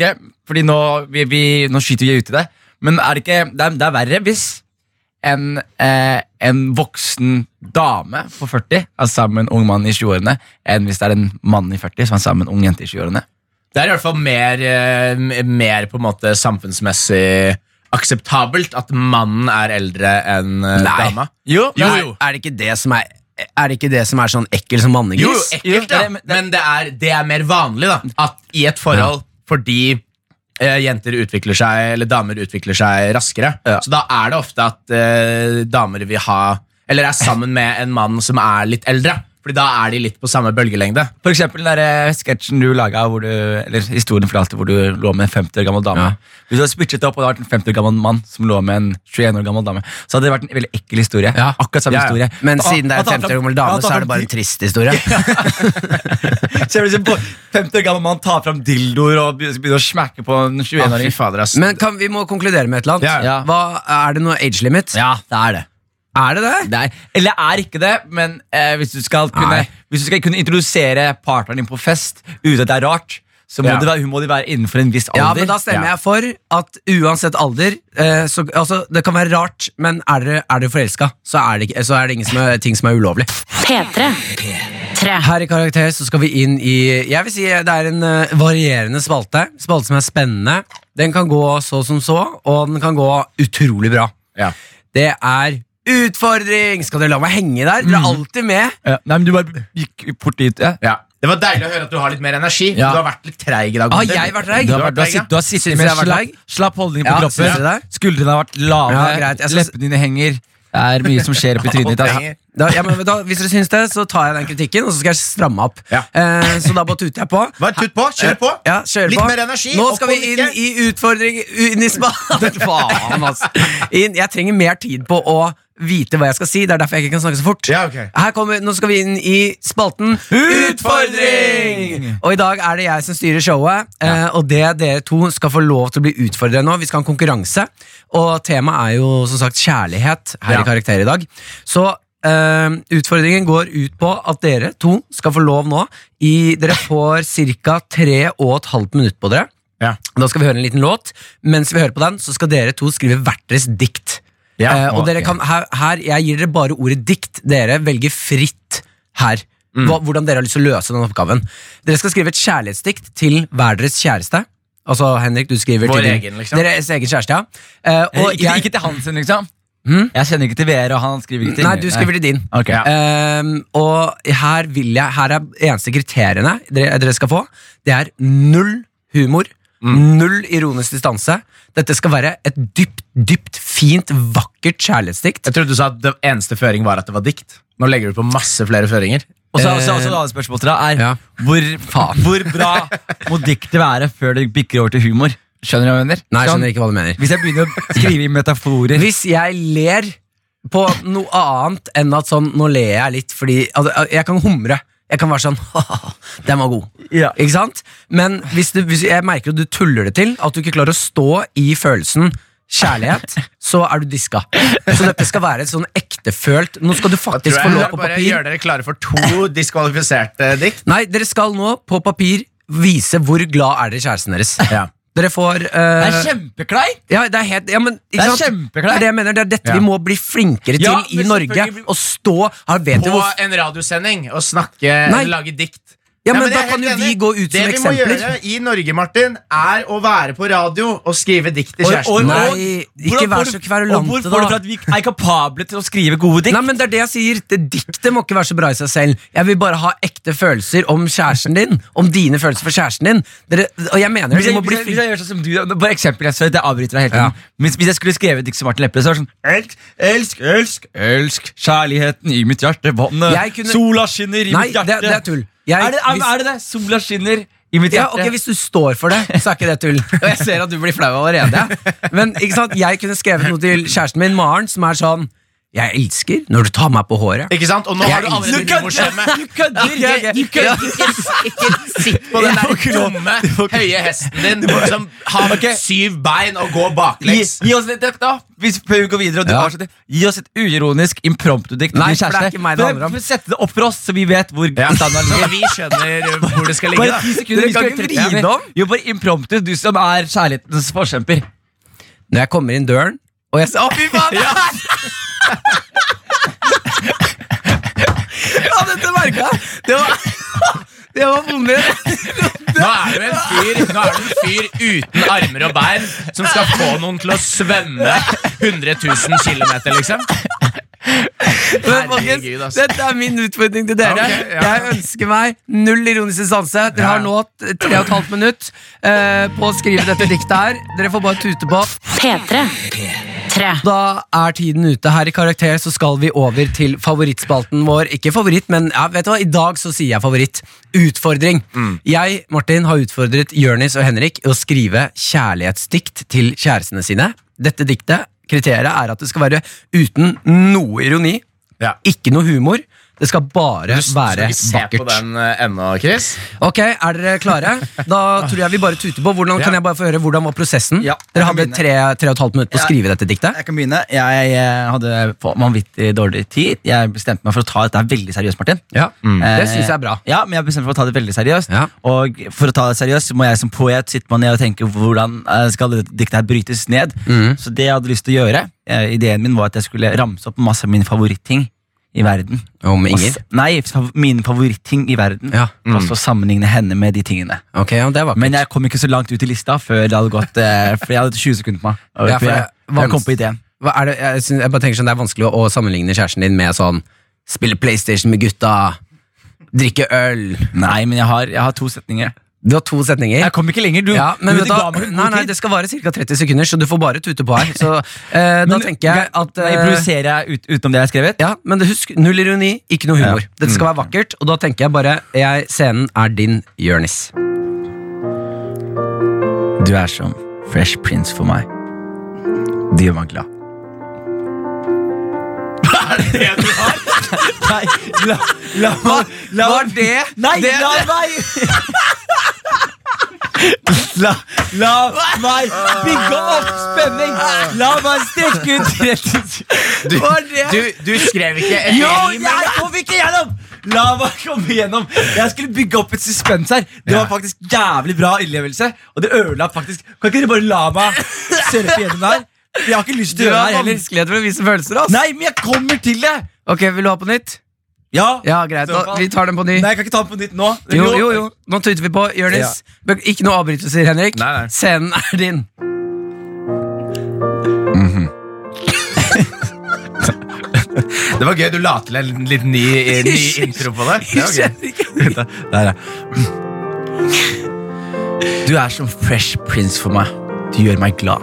S4: Fordi nå, vi, vi, nå skyter vi ut i det. Men er det, ikke, det, er, det er verre hvis en, eh, en voksen dame på 40 er sammen med en ung mann i 20-årene, enn hvis det er en mann i 40 som er sammen med en ung jente i 20-årene.
S3: Det er i hvert fall mer, eh, m- mer på en måte samfunnsmessig akseptabelt at mannen er eldre enn eh,
S2: Nei.
S3: dama.
S4: Jo,
S3: Jo,
S2: Nei,
S3: jo.
S2: Er det ikke det som er Er det ikke det som er sånn ekkel som mannegris?
S3: Jo, jo, ekkelt,
S4: Jo,
S3: da.
S4: det- men-
S3: Men det er, det er mer vanlig da, at i et forhold, fordi eh, jenter utvikler seg, eller damer utvikler seg raskere,
S4: Ja.
S3: så da er det ofte at eh, damer vil ha, eller er sammen med en mann som er litt eldre, fordi da er de litt på samme bølgelengde.
S4: For eksempel den der eh, sketsjen du laga, hvor du, eller historien fortalte hvor du lå med en 50 år gammel dame.
S2: Ja.
S4: Hvis du hadde spyttet opp og det hadde vært en 50 år gammel mann som lå med en 21 år gammel dame, så hadde det vært en veldig ekkel historie.
S2: Ja.
S4: Akkurat samme
S3: Ja, ja.
S4: historie.
S2: Men
S4: Da-
S2: siden det er
S4: da-
S2: en 50 år gammel
S4: da-
S2: dame,
S4: da-
S2: så er det bare en trist historie.
S4: Ser du som liksom på 50 år gammel mann tar fram dildoer og begynner å smekke på en
S3: Ah, fy
S4: 21-åring?
S3: fader, ass.
S2: Men kan, vi må konkludere med et eller annet.
S4: Ja.
S2: Hva, er det noe age limit?
S4: Ja, det er det.
S2: Er det det?
S4: det er, eller er ikke det, men eh, hvis, du skal kunne,
S2: Nei.
S4: hvis du skal kunne introdusere partneren din på fest uten at det er rart, så må,
S3: Ja.
S4: det være, må de være innenfor en viss alder.
S2: Ja, men Da stemmer jeg for at uansett alder eh, så, altså, Det kan være rart, men er dere, er dere forelska, så, er det ikke- så er det ingen som er, ting som er ulovlig.
S5: P3. Tre.
S2: Her i Karakter så skal vi inn i Jeg vil si det er en eh, varierende spalte. Spalte som er spennende. Den kan gå så som så, og den kan gå utrolig bra.
S3: Ja.
S2: Det er utfordring! Skal dere la meg henge der?
S4: Mhm.
S2: Dere er alltid med.
S4: Ja, nei, men du bare gikk fort dit. Ja.
S3: Ja. Det var deilig å høre at du har litt mer energi.
S4: Ja.
S3: Du har vært litt treig i dag.
S2: Har
S3: Gunther.
S2: Ah, jeg vært treig?
S4: Du har, vært, du har,
S3: treig, ja.
S4: sitt, du har sittet
S2: Synes
S4: med
S2: jeg har vært
S4: slapp, slapp holdning på
S2: Ja, synes du
S4: kroppen.
S2: det?
S4: Skuldrene har vært lave,
S2: Ja, greit, jeg synes-
S4: leppene dine henger. Det er mye som skjer oppi trynet ditt. altså.
S3: Ja.
S2: Da, ja, men, vet du hva, hvis dere syns det, så tar jeg den kritikken, og så skal jeg stramme opp.
S3: Ja.
S2: Eh, så da bare tuter jeg på.
S3: Bare tutt på, kjør på.
S2: Ja, kjør
S3: Litt
S2: på.
S3: mer energi,
S2: Nå
S3: opp
S2: skal
S3: og
S2: vi inn
S3: nikke.
S2: i utfordring Inn i spalten. Faen, ass. Inn. Jeg trenger mer tid på å vite hva jeg skal si. Det er derfor jeg ikke kan snakke så fort.
S3: Ja, ok.
S2: Her kommer, Nå skal vi inn i spalten Utfordring! Og i dag er det jeg som styrer showet, eh, og det dere to skal få lov til å bli utfordret nå. Vi skal ha en konkurranse, og temaet er jo som sagt kjærlighet her
S3: Ja.
S2: i Karakter i dag. Så eh, utfordringen går ut på at dere to skal få lov nå. I, dere får ca. tre og et halvt minutt på dere.
S3: Ja.
S2: Da skal vi høre en liten låt. Mens vi hører på den, så skal dere to skrive hvert deres dikt.
S3: Ja,
S2: eh, og dere
S3: ok.
S2: kan, her, her, Jeg gir dere bare ordet dikt. Dere velger fritt her.
S3: Mm.
S2: Hva, hvordan dere har lyst til å løse den oppgaven. Dere skal skrive et kjærlighetsdikt til hver deres kjæreste. Altså, Henrik, du skriver
S3: Vår
S2: til din-
S3: egen, liksom.
S2: Deres egen kjæreste, ja. Eh,
S4: Eh,
S2: og
S4: Ikke,
S2: jeg,
S4: ikke til han sin, liksom.
S2: Hmm?
S4: Jeg kjenner ikke til VR, og han skriver ikke til
S2: nei, du skriver til din.
S4: Ok.
S3: Ja.
S2: Ehm, og her, vil jeg, her er eneste kriteriene dere, dere skal få. Det er null humor.
S3: Mm.
S2: Null ironisk distanse. Dette skal være et dypt, dypt fint, vakkert kjærlighetsdikt.
S3: Jeg trodde du sa at det eneste føring var at det var dikt. Nå legger du på masse flere føringer.
S4: Og så også, også et annet spørsmål til deg er
S2: Eh, Ja.
S4: hvor, hvor bra må diktet være før det bikker over til humor? Skjønner du hva jeg mener?
S2: Nei,
S4: Sånn,
S2: skjønner ikke hva du mener.
S4: Hvis jeg begynner å skrive i metaforer
S2: Hvis jeg ler på noe annet enn at sånn Nå ler jeg litt fordi altså, Jeg kan humre. Jeg kan være sånn Den var god.
S4: Ja.
S2: Ikke sant? Men hvis, du, hvis jeg merker at du tuller det til, at du ikke klarer å stå i følelsen kjærlighet, så er du diska. Så dette skal være et sånn ektefølt Nå skal du
S3: Da tror
S2: faktisk
S3: jeg
S2: få
S3: jeg
S2: lov
S3: må
S2: på
S3: bare
S2: papir.
S3: gjøre dere klare for to diskvalifiserte eh, dikt.
S2: Nei, dere skal nå på papir vise hvor glad er dere i kjæresten deres.
S3: Ja.
S2: Dere får eh,
S4: Det er kjempekleint!
S2: ja, det er helt, ja, men, ikke
S4: Det er
S2: sant?
S4: kjempekleint.
S2: Det er det jeg mener, det er dette
S3: Ja.
S2: vi må bli flinkere til
S4: Ja,
S2: i
S4: men
S2: Norge.
S4: selvfølgelig-
S2: Å stå her vet du
S3: På
S2: hvor
S3: en radiosending og snakke
S2: Nei.
S3: lage dikt.
S2: Ja,
S3: Nei,
S2: men
S3: jeg
S2: da
S3: er
S2: kan
S3: helt
S2: jo vi
S3: enig.
S2: gå ut som
S3: Det vi må
S2: eksempler.
S3: gjøre i Norge, Martin, er å være på radio og skrive dikt til
S4: Og-
S3: kjæresten.
S4: og-
S2: Nei,
S4: og-
S2: ikke
S4: hvordan får
S2: vær
S4: du-
S2: så kverulante,
S4: Og hvor
S2: da.
S4: får du til at vi er kapable til å skrive gode dikt?
S2: Nei, men det er det jeg sier. Det Diktet må ikke være så bra i seg selv. Jeg vil bare ha ekte følelser om kjæresten din. Om dine følelser for kjæresten din. Dere, og jeg mener
S4: Hvis
S2: det. Vi
S4: jeg,
S2: må
S4: hvis,
S2: bli
S4: jeg, hvis
S2: flinkere.
S4: jeg gjør sånn som du Bare eksempel, jeg, sorry, det avbryter deg hele tiden. Hvis, hvis jeg skulle skrevet dikt som Martin Lepperød, så var det sånn Elsk, elsk, elsk, elsk kjærligheten i mitt hjerte, vannet,
S2: Jeg kunne-
S4: sola skinner i
S2: Nei,
S4: mitt hjerte.
S2: det- det er tull. Jeg-
S4: er, det, er,
S2: hvis-
S4: er det det? Sola skinner i mitt
S2: Ja,
S4: hjerte.
S2: ok, Hvis du står for det, så er ikke det tull. Og jeg ser at du blir flau allerede. Men ikke sant, jeg kunne skrevet noe til kjæresten min, Maren, som er sånn Jeg elsker når du tar meg på håret.
S3: Ikke sant? Og nå har du
S4: Du
S3: allerede
S4: kødder!
S3: humorskjemmet.
S4: Du kødder!
S2: Ok, ok.
S4: Du kødder.
S3: Sitt på den der dumme, høye hesten din som har
S4: Ok.
S3: syv bein og går
S4: Gi,
S3: baklengs.
S4: gi oss et dikt, da! Hvis før vi går videre og du
S2: Ja.
S4: har sånn dikt, Gi oss et uironisk impromptu-dikt.
S2: Nei, for
S4: til din
S2: det er
S4: kjæreste.
S2: ikke meg det
S4: Bare-
S2: handler om.
S4: for Sette det opp for oss, så vi vet hvor
S3: Ja.
S4: standarden
S3: Så
S4: ligger.
S3: vi skjønner hvor det skal ligge.
S4: Bare ti
S3: da
S4: sekunder.
S2: Dere kan
S4: vi skal
S2: ikke
S4: trekke
S2: vride
S4: ned.
S2: om.
S4: Jo, bare impromptu, du som er kjærlighetens forkjemper.
S2: Når jeg kommer inn døren, og jeg sier Å, fy faen! det her!» Ja, dette merka jeg! Det var, det var vondere.
S3: Nå er du en fyr, nå er du en fyr uten armer og bein som skal få noen til å svømme 100 000 km, liksom.
S2: Men folkens,
S3: Herregud, ass.
S2: Dette er min utfordring til dere.
S3: Ja, ok, ja.
S2: Jeg ønsker meg null ironisk distanse. Dere
S3: Ja.
S2: har nå t- tre og et halvt minutt eh, på å skrive dette diktet her. Dere får bare tute på.
S5: P3. 3.
S2: Da er tiden ute. Her i Karakter så skal vi over til favorittspalten vår. Ikke favoritt, men ja, vet du hva, i dag så sier jeg favoritt. Utfordring.
S4: Mm.
S2: Jeg Martin, har utfordret Jørnis og Henrik i å skrive kjærlighetsdikt til kjærestene sine. Dette diktet, kriteriet, er at det skal være uten noe ironi.
S3: Ja.
S2: Ikke noe humor. Det skal bare være
S3: Skal vi se på
S2: vakkert.
S3: den eh, ennå, Chris?
S2: Ok, Er dere klare? Da tror jeg vi bare tuter på. Hvordan kan
S3: Ja.
S2: jeg bare få høre, hvordan var prosessen?
S4: Ja, jeg
S2: dere
S4: kan
S2: hadde
S4: begynne.
S2: tre, tre og et halvt minutt på å
S4: Ja.
S2: skrive dette diktet.
S4: Jeg kan begynne. Jeg, eh, hadde på vanvittig dårlig tid. Jeg bestemte meg for å ta dette veldig seriøst, Martin.
S2: Ja,
S4: Eh,
S2: Det syns jeg er bra.
S4: Ja, men jeg bestemte meg for å ta det veldig seriøst.
S2: Ja.
S4: Og for å ta det seriøst så må jeg som poet sitte meg ned og tenke hvordan eh, skal dette diktet her brytes ned.
S2: Mm.
S4: Så det jeg hadde lyst til å gjøre, eh, ideen min var at jeg skulle ramse opp masse av mine favoritting i verden.
S2: Om
S4: Og
S2: Inger?
S4: s- Nei, fav- mine favoritting i verden.
S2: Ja. Mm.
S4: Og så sammenligne henne med de tingene.
S2: Ok, ja, det var
S4: Men jeg kom ikke så langt ut i lista før det hadde gått eh, For jeg hadde 20 sekunder på meg. Og
S2: Ja, for
S4: jeg,
S2: det er
S4: jeg kom på ideen.
S2: Hva er det, jeg, syns- jeg bare tenker sånn, Det er vanskelig å, å sammenligne kjæresten din med sånn Spille Playstation med gutta, drikke øl
S4: Nei, men jeg har, jeg har to setninger.
S2: Du har to setninger.
S4: Jeg kom ikke lenger. Du,
S2: Ja, men
S4: du,
S2: vet du,
S4: du
S2: hva?
S4: ga meg en
S2: nei,
S4: god
S2: nei,
S4: tid.
S2: det skal vare ca. 30 sekunder, så du får bare tute på her. Så, eh, da
S4: Men-
S2: tenker jeg at
S4: Da
S2: eh,
S4: improviserer jeg ut, utenom det jeg har skrevet.
S2: ja, Men husk, null ironi, ikke noe humor.
S4: Ja. Mm.
S2: Dette skal være vakkert, og da tenker jeg bare jeg, Scenen er din, Jonis.
S4: Du er som Fresh Prince for meg. Det gjør meg glad. Hva er det du har? Nei, la, la, la, la
S2: var det?
S4: Nei,
S2: Det-
S4: la meg La, la meg bygge opp spenning! La meg strekke ut 30
S3: Du,
S4: Hva er det?
S3: du, du skrev ikke en
S4: Jo,
S3: rim.
S4: jeg kom ikke gjennom! La meg komme gjennom. Jeg skulle bygge opp et suspens her. Det var faktisk jævlig bra innlevelse. Og det ødela faktisk Kan ikke dere bare la meg surfe gjennom det her? Jeg har ikke lyst til å gjøre det her heller.
S2: vanskeligheter med å vise følelser. ass.
S4: Nei, men jeg kommer til det!
S2: Ok, Vil du ha på nytt?
S4: Ja.
S2: Ja, greit.
S4: I så
S2: Da,
S4: fall.
S2: vi tar den på ny.
S4: Nei, jeg kan ikke ta den på nytt nå.
S2: Jo, jo, jo. Nå tuter vi på. Jonis, Bøk- ikke noe avbrytelser, Henrik.
S3: Nei, nei.
S2: Scenen er din.
S3: Det var gøy. Du la til en liten ny, ny intro på det. det var gøy.
S4: Der, ja. Du er som Fresh Prince for meg. Du gjør meg glad.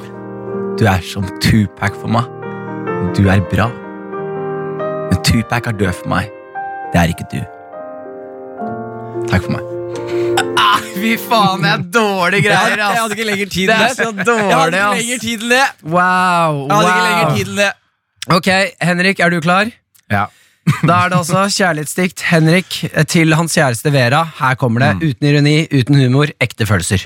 S4: Du er som Tupac for meg. Du er bra. Men Tupac er død for meg. Det er ikke du. Takk for meg.
S2: Fy faen, det er dårlige greier, ass.
S4: ikke lenger tid
S2: altså. Det er så dårlig, ass.
S4: tid til det.
S2: Wow. wow.
S4: tid til det.
S2: Ok, Henrik, er du klar?
S3: Ja.
S2: Da er det også kjærlighetsdikt Henrik eh, til hans kjæreste Vera. Her kommer det.
S3: Mm.
S2: Uten ironi, uten humor, ekte følelser.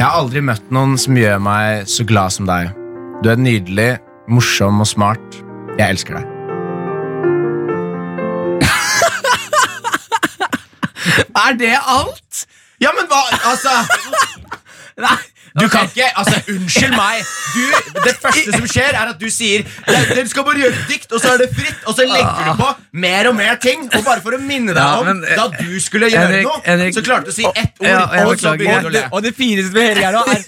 S3: Jeg har aldri møtt noen som gjør meg så glad som deg. Du er nydelig, morsom og smart. Jeg elsker deg.
S4: Er det alt?
S3: Ja, men hva Altså,
S4: Nei.
S3: du kan ikke Altså, unnskyld meg. Du, det første som skjer, er at du sier Dere skal bare gjøre et dikt, og så er det fritt. Og så legger du på mer og mer ting. Og bare for å minne deg
S2: Ja,
S3: om
S2: men, eh,
S3: da du skulle gjøre
S2: Henrik,
S3: noe,
S2: Henrik-
S3: så klarte du å si ett ord,
S2: Ja, jeg
S3: og så
S2: beklager.
S3: begynner du å le.
S4: Og det fineste med hele greia nå er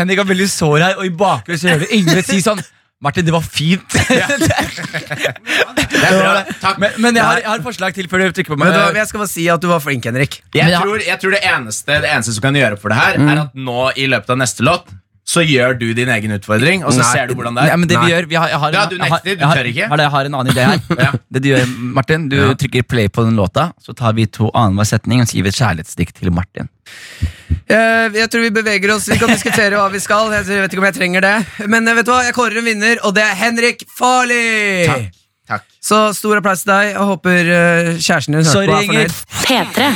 S4: Henrik er veldig sår her, og i bakgrunnen så hører du Ingrid si sånn Martin, det var fint.
S3: Det er bra. Takk.
S4: men men jeg, har, jeg har et forslag til før du trykker på
S2: Men
S4: meg.
S2: da, jeg skal bare si at du var flink, Henrik.
S3: Jeg
S4: Men ja. Mm.
S3: tror, jeg tror det, eneste, det eneste som kan gjøre opp for det her, er at nå i løpet av neste låt så gjør du din egen utfordring, og så
S2: Nei.
S3: ser du hvordan det er.
S4: Ja, men det
S2: Nei.
S4: vi gjør, vi har, jeg har,
S3: Ja, du
S4: jeg har-
S3: nekter, du
S4: jeg har-
S3: tør ikke.
S4: har det- Jeg har en annen idé her.
S3: Ja.
S4: Det du gjør, Martin, du trykker play på den låta, så tar vi to annenhver setning og skriver et kjærlighetsdikt til Martin.
S2: Eh, Jeg tror vi beveger oss. Vi kan diskutere hva vi skal. Jeg tror- jeg vet ikke om jeg trenger det. Men eh, vet du hva, jeg kårer en vinner, og det er Henrik Farli!
S3: Takk. Takk.
S2: Så stor applaus til deg. Jeg håper eh, kjæresten din hørte
S4: Sorry,
S2: på er
S4: Inger.
S2: fornøyd.
S5: P3.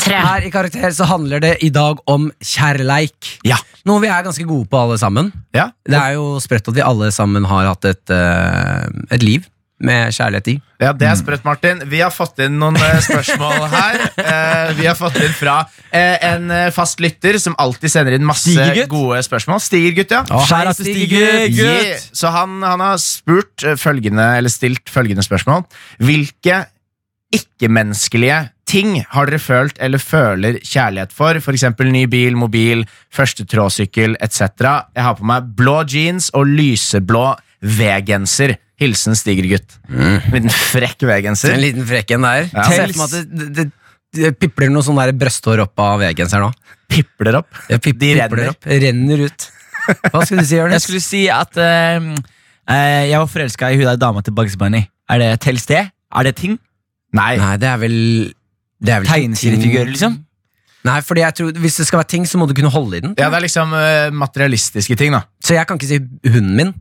S5: Tre.
S2: Her i Karakter så handler det i dag om kjærleik.
S4: Ja.
S2: Noe vi er ganske gode på alle sammen.
S3: Ja.
S2: Det er jo sprøtt at vi alle sammen har hatt et, eh, et liv med kjærlighet i.
S3: Ja, det er
S4: Mm.
S3: sprøtt, Martin. Vi har fått inn noen eh, spørsmål her. Eh, vi har fått inn fra eh, en eh, fast lytter som alltid sender inn masse
S4: Stigergutt?
S3: gode spørsmål. Stigergutt, ja.
S2: Å,
S4: Skjær
S2: hei,
S4: at det
S2: Stig
S4: stiger,
S2: Gutt.
S4: gutt.
S3: Yeah. Så han, han har spurt eh, følgende, eller stilt følgende spørsmål. Hvilke ikke-menneskelige ting har dere følt eller føler kjærlighet for? F.eks. ny bil, mobil, første tråsykkel etc. Jeg har på meg blå jeans og lyseblå V-genser. Hilsen Stigergutt.
S2: Mm.
S3: En liten frekk V-genser.
S2: En liten frekk en der.
S3: Ja.
S2: Jeg ser for meg at det, det, det pipler noe sånn der brøsthår opp av V-genseren nå.
S3: pipler opp.
S2: Det pip,
S3: De
S2: pipler
S3: renner.
S2: opp. Renner ut. Hva skulle du si,
S4: Jeg
S2: Jonis?
S4: skulle si at ehm, eh, jeg var forelska i hun der dama til Bugs Bunny. Er det tels det? Er det ting?
S3: Nei.
S2: Nei, det er vel det er vel ikke
S4: Tegneseriefigur,
S2: ting-
S4: liksom?
S2: Nei, fordi jeg tror Hvis det skal være ting, så må du kunne holde i den.
S3: Ja, det er liksom eh, materialistiske ting, da.
S2: Så jeg kan ikke si hunden min.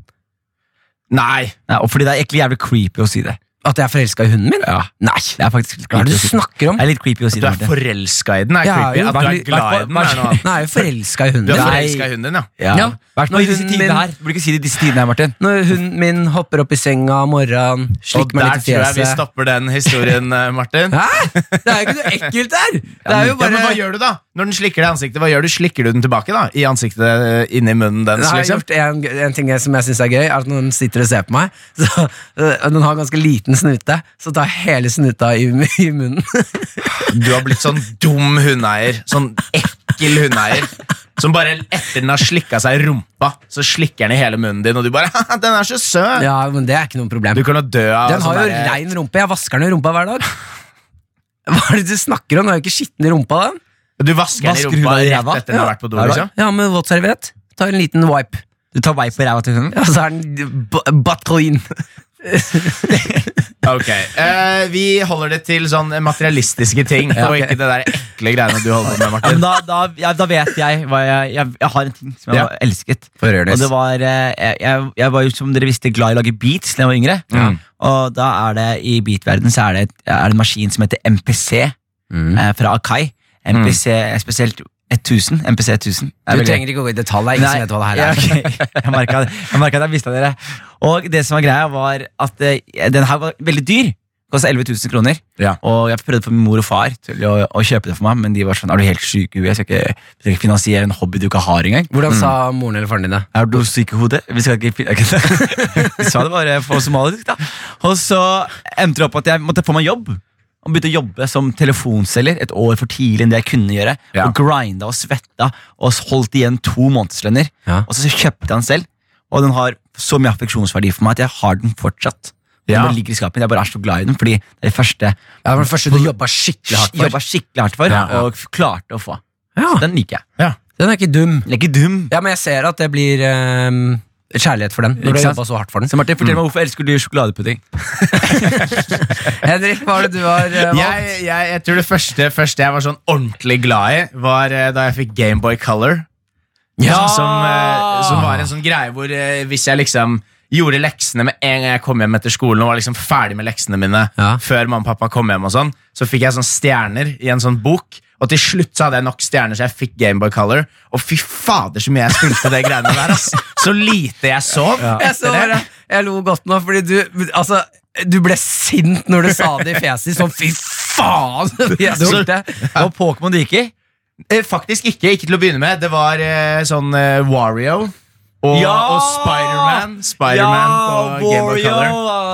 S3: Nei.
S4: Ja, og fordi det er egentlig jævlig creepy å si det.
S2: At jeg er forelska i hunden min? Nei!
S4: Det er faktisk litt
S2: Hva er det du
S4: creepy å si det.
S2: snakker om?
S4: Det er litt creepy å si
S3: Du
S4: det,
S3: er
S4: Martin.
S3: forelska i den, er
S2: Ja,
S3: creepy.
S2: jo,
S3: At du er
S2: vær-
S3: glad i den, er noe annet.
S2: Nei, jeg er jo forelska i hunden
S3: Du er
S2: min.
S3: forelska i hunden din, ja.
S4: Ja.
S2: Ja.
S4: Hvert fall
S2: Når
S4: i disse
S2: hunden
S4: tidene
S2: min-
S4: her. Du Burde ikke si det i disse tidene her, Martin.
S2: Når hunden min hopper opp i senga om morgenen,
S3: Og
S2: slikker meg
S3: der
S2: litt i
S3: tror jeg vi
S2: fjeset
S3: stopper den historien, eh, Martin.
S2: Hæ? Det er jo ikke noe ekkelt der! Det er jo
S3: Ja, men
S2: bare
S3: Hva gjør du, da? Når den slikker deg i ansiktet, hva gjør du? Slikker du den tilbake da? i ansiktet eh, inni munnen dens?
S2: Jeg har
S3: Liksom?
S2: gjort en, en ting som jeg syns er gøy, er at når den sitter og ser på meg så, øh, Den har ganske liten snute, så tar jeg hele snuta i, i munnen.
S3: Du har blitt sånn dum hundeeier. Sånn ekkel hundeeier. Som bare etter den har slikka seg i rumpa, så slikker den i hele munnen din, og du bare «Haha, Den er så søt!
S2: Ja, men Det er ikke noe problem.
S3: Du kan jo dø av
S4: Altså,
S2: Den har jo
S3: sånn der-
S2: rein rumpe. Jeg vasker den i rumpa hver dag. Hva er det du snakker om? Den er jo ikke skitten i rumpa, den.
S3: Du vasker den i
S4: Vasker
S3: rumpa
S4: hun deg i
S3: rett
S4: ræva?
S3: etter den har
S4: Ja.
S3: vært på do?
S4: Hver dag.
S3: liksom
S2: Ja, med våtserviett. Ta en liten wipe.
S4: Du tar vei på ræva til hunden.
S2: Ja, så er den b- butt clean.
S3: Ok, eh, Vi holder det til sånn materialistiske ting, og
S2: ok.
S3: ikke det der ekle greiene du holder på med.
S4: Ja, men
S3: Martin
S4: da, da, ja, da vet jeg hva jeg, jeg Jeg har en ting som jeg
S3: Ja.
S4: har elsket.
S2: Få høre, Nes.
S4: Og det var eh, jeg, jeg, jeg var jo som dere visste glad i å lage beats da jeg var yngre. Og da er det i beatverden så er det, er det en maskin som heter MPC
S2: Mm.
S4: eh, fra Akai. MPC eh, spesielt 1000. MPC 1000. er
S2: Du
S4: veldig-
S2: trenger ikke gå i detalj. Det er ingen som vet hva det her er.
S4: ja, ok. Jeg merka det. Jeg merket at jeg mistet dere. Og det som var greia, var at eh, den her var veldig dyr. Kosta 11 000 kroner.
S3: Ja.
S4: Og jeg prøvde for min mor og far til å, å kjøpe det for meg, men de var sånn Er du helt syk i huet? Jeg skal ikke, jeg skal ikke finansiere en hobby du ikke har engang.
S2: Hvordan sa moren eller faren din det?
S4: Er du syk i hodet? Vi skal ikke finne De sa det bare på somalisk, da. Og så endte det opp at jeg måtte få meg jobb. Og begynte å jobbe som telefonselger et år for tidlig enn det jeg kunne gjøre.
S3: Ja.
S4: Og grinda og svetta og holdt igjen to månedslønner.
S2: Ja.
S4: Og så kjøpte jeg den selv, og den har så mye affeksjonsverdi for meg at jeg har den fortsatt. Og
S3: Ja.
S4: Den bare ligger i skapet mitt. Jeg bare er så glad i den, fordi det er det første
S2: Ja, det var det første du jobba skikkelig hardt
S4: jeg
S2: for.
S4: jobba skikkelig hardt for,
S3: Ja, ja.
S4: og klarte å få.
S2: Ja,
S4: Den liker jeg.
S2: den er ikke dum.
S4: Den er ikke dum.
S2: Ja, men jeg ser at det blir ehm, kjærlighet for den. Når du
S4: Ikke
S2: har
S4: sant?
S2: jobbet så hardt for den
S4: Så Martin, fortell meg hvorfor elsker du sjokoladepudding?
S2: Henrik, hva er det du har eh, valgt?
S3: jeg, jeg, jeg tror det første, første jeg var sånn ordentlig glad i, var eh, da jeg fikk Gameboy Color.
S2: Ja!
S3: Som, eh, som var en sånn greie hvor eh, hvis jeg liksom gjorde leksene med en gang jeg kom hjem etter skolen og var liksom ferdig med leksene mine
S2: Ja.
S3: før mamma og pappa kom hjem, og sånn så fikk jeg sånn stjerner i en sånn bok. Og til slutt så hadde jeg nok stjerner, så jeg fikk Gameboy Color. Og fy fader, så mye jeg spilte det greiene der, ass. Så lite jeg sov.
S2: Jeg, så,
S3: etter det.
S2: det. jeg lo godt nå, fordi du Altså, du ble sint når du sa det i fjeset ditt. Sånn, fy faen! Jeg
S3: Så-
S2: spilte.
S4: Og Pokémon det gikk i?
S3: Eh, Faktisk ikke. Ikke til å begynne med. Det var eh, sånn eh, Wario og,
S4: Ja!
S3: og Spiderman. Spiderman på Gameboy Color.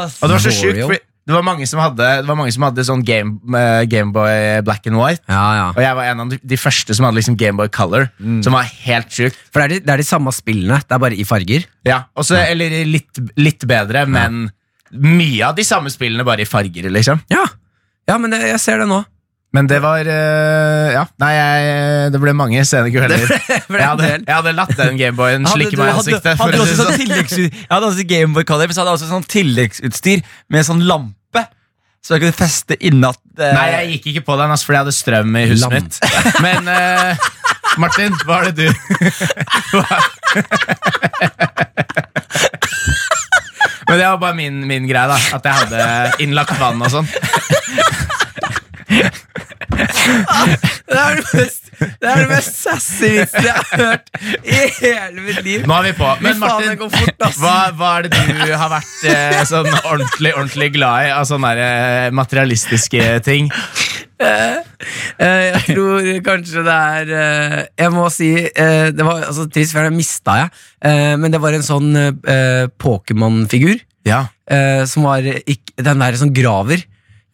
S3: Og det var så sjukt,
S2: Wario.
S3: fordi det var mange som hadde, det var mange som hadde sånn Game- eh, Gameboy Black and White.
S2: Ja, ja.
S3: Og jeg var en av de- de første som hadde liksom Gameboy Color, som var helt sjukt.
S2: For det er, de, det er de samme spillene, det er bare i farger.
S3: Ja, og så- Eller litt, litt bedre, men mye av de samme spillene, bare i farger, liksom.
S2: Ja, ja men det, jeg ser det nå.
S3: Men det var eh, Ja, nei, jeg, det ble mange sene kvelder.
S2: ble
S3: jeg,
S2: en
S3: hadde,
S2: del.
S3: jeg hadde latt den Gameboyen
S4: Hadde
S3: slikke
S4: du-
S3: meg i
S4: hadde-
S3: ansiktet. for
S4: Hadde du
S3: å si
S4: også
S3: det
S4: sånn
S3: sånn.
S4: tilleggsutstyr Jeg hadde også Gameboy Color, men så hadde jeg også sånn tilleggsutstyr med sånn lampe. Så jeg kunne feste innat eh,
S3: Nei, jeg gikk ikke på den, ass, fordi jeg hadde strøm i huset
S2: Lam.
S3: mitt. Men eh, Martin, hva er det du Hva- Men det var bare min, min greie, da. At jeg hadde innlagt vann og sånn.
S2: Det er det mest, det er det mest sassy vitsen jeg har hørt i hele mitt liv.
S3: Nå er vi på. Men
S2: Fy faen, det
S3: Martin,
S2: går fort, ass.
S3: hva, hva er det du har vært eh, sånn ordentlig ordentlig glad i av sånne der, eh, materialistiske ting?
S2: Eh, jeg tror kanskje det er eh, Jeg må si eh, Det var altså, trist, for det mista jeg. Eh, men det var en sånn eh, Pokémon-figur
S3: Ja.
S2: eh, som var ikk- Den der som graver.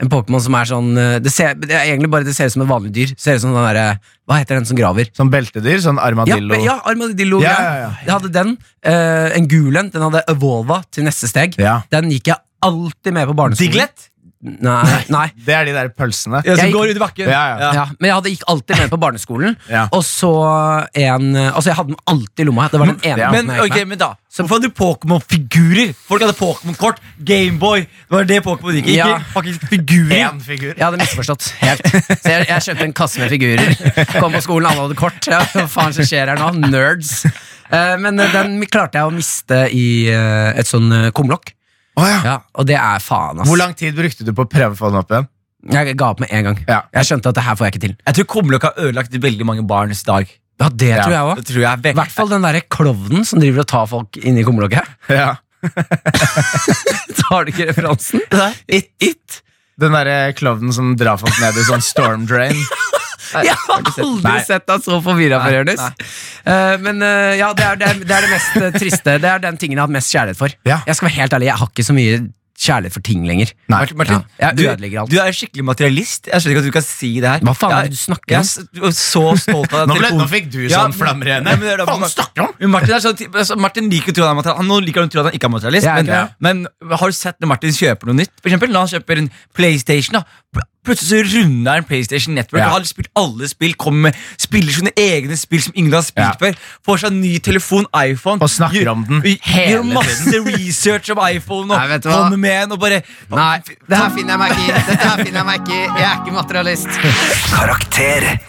S2: En Pokémon som er sånn eh, det, ser, det er egentlig bare det ser ut som et vanlig dyr. Ser ut som den der, eh, Hva heter den som graver?
S3: Sånn beltedyr? Sånn
S2: Ja,
S3: armadillo?
S2: ja, armadillo.
S3: Ja,
S2: Ja,
S3: ja, ja.
S2: Jeg hadde den. eh, en gul en. Den hadde evolva til neste steg.
S3: Ja.
S2: Den gikk jeg alltid med på barneskolen.
S4: Diglett?
S2: Nei, nei.
S3: Det er de der pølsene.
S4: Ja, som
S2: Jeg-
S4: går ut i bakken.
S3: Ja, ja.
S2: Ja, men jeg hadde gikk alltid med på barneskolen.
S3: Ja.
S2: Og så en Altså, jeg hadde den alltid i lomma. Det var den ene
S3: Ja.
S2: måten
S4: Men,
S2: jeg gikk
S4: ok,
S2: med.
S4: men da Hvorfor hadde du Pokémon-figurer? Folk hadde Pokémon-kort, Gameboy. Det var det Pokémon gikk i.
S2: Ja.
S4: Ikke faktisk figurer.
S3: Én figur.
S2: Jeg hadde misforstått helt. Så jeg, jeg kjøpte en kasse med figurer. Kom på skolen, alle hadde kort. Ja, hva faen som skjer her nå? Nerds. Eh, men eh, den klarte jeg å miste i eh, et sånn eh, kumlokk.
S3: Å, ja.
S2: Ja, og det er faen, ass.
S3: Hvor lang tid brukte du på å prøve å få den opp igjen?
S2: Jeg ga opp med en gang.
S3: Ja.
S2: Jeg skjønte at det her får jeg ikke til.
S4: Jeg tror kumlokk har ødelagt veldig mange barns dag.
S2: Ja, det
S3: Ja.
S2: tror jeg
S4: Det
S2: også
S4: tror jeg er
S2: I hvert fall den derre klovnen som driver og tar folk inni kumlokket.
S3: Ja.
S2: Tar du ikke referansen? It, it.
S3: Den derre klovnen som drar folk ned i sånn storm drain.
S2: Jeg har aldri
S3: Nei.
S2: sett deg så forvirra før,
S4: Nei,
S2: Jonis. Eh, men eh, ja, det er, det, er, det er det mest eh, triste. Det er den tingen jeg har hatt mest kjærlighet for.
S3: Ja.
S2: Jeg skal være helt ærlig, jeg har ikke så mye kjærlighet for ting lenger.
S3: Nei.
S4: Martin, Martin
S2: Ja, jeg
S4: du,
S2: ødelegger alt.
S4: du er skikkelig materialist. Jeg skjønner ikke at du kan si det her.
S2: Hva faen er
S4: Jeg-
S2: det du snakker om?
S4: Jeg er s- du er så stolt av
S3: Nå,
S4: den
S3: ble, nå
S4: telefonen.
S3: fikk du
S4: Ja,
S3: sånn flammer i
S4: Nei, men det er
S3: øynene.
S4: da-
S3: Faen, snakker du om?
S4: Men Martin, er sånn, typ- altså, Martin liker å tro han er materialist. Han- Nå liker han å tro at han ikke er materialist.
S2: Jeg er
S4: Men,
S2: ikke
S4: men har du sett når Martin kjøper noe nytt? For eksempel, når han kjøper en PlayStation, da, pl- plutselig så runder han PlayStation Network.
S3: Ja.
S4: og Har spilt alle spill, kommer med, spiller sine egne spill som ingen har
S3: Ja.
S4: spilt før. Får seg en ny telefon, iPhone.
S3: Og snakker om den hele
S4: Gjør masse research om iPhone og
S2: Nei, vet du hva?
S4: kommer med en og bare
S2: Nei, det her finner jeg meg ikke i. Dette her finner jeg meg ikke i. Jeg er ikke materialist.
S1: Karakter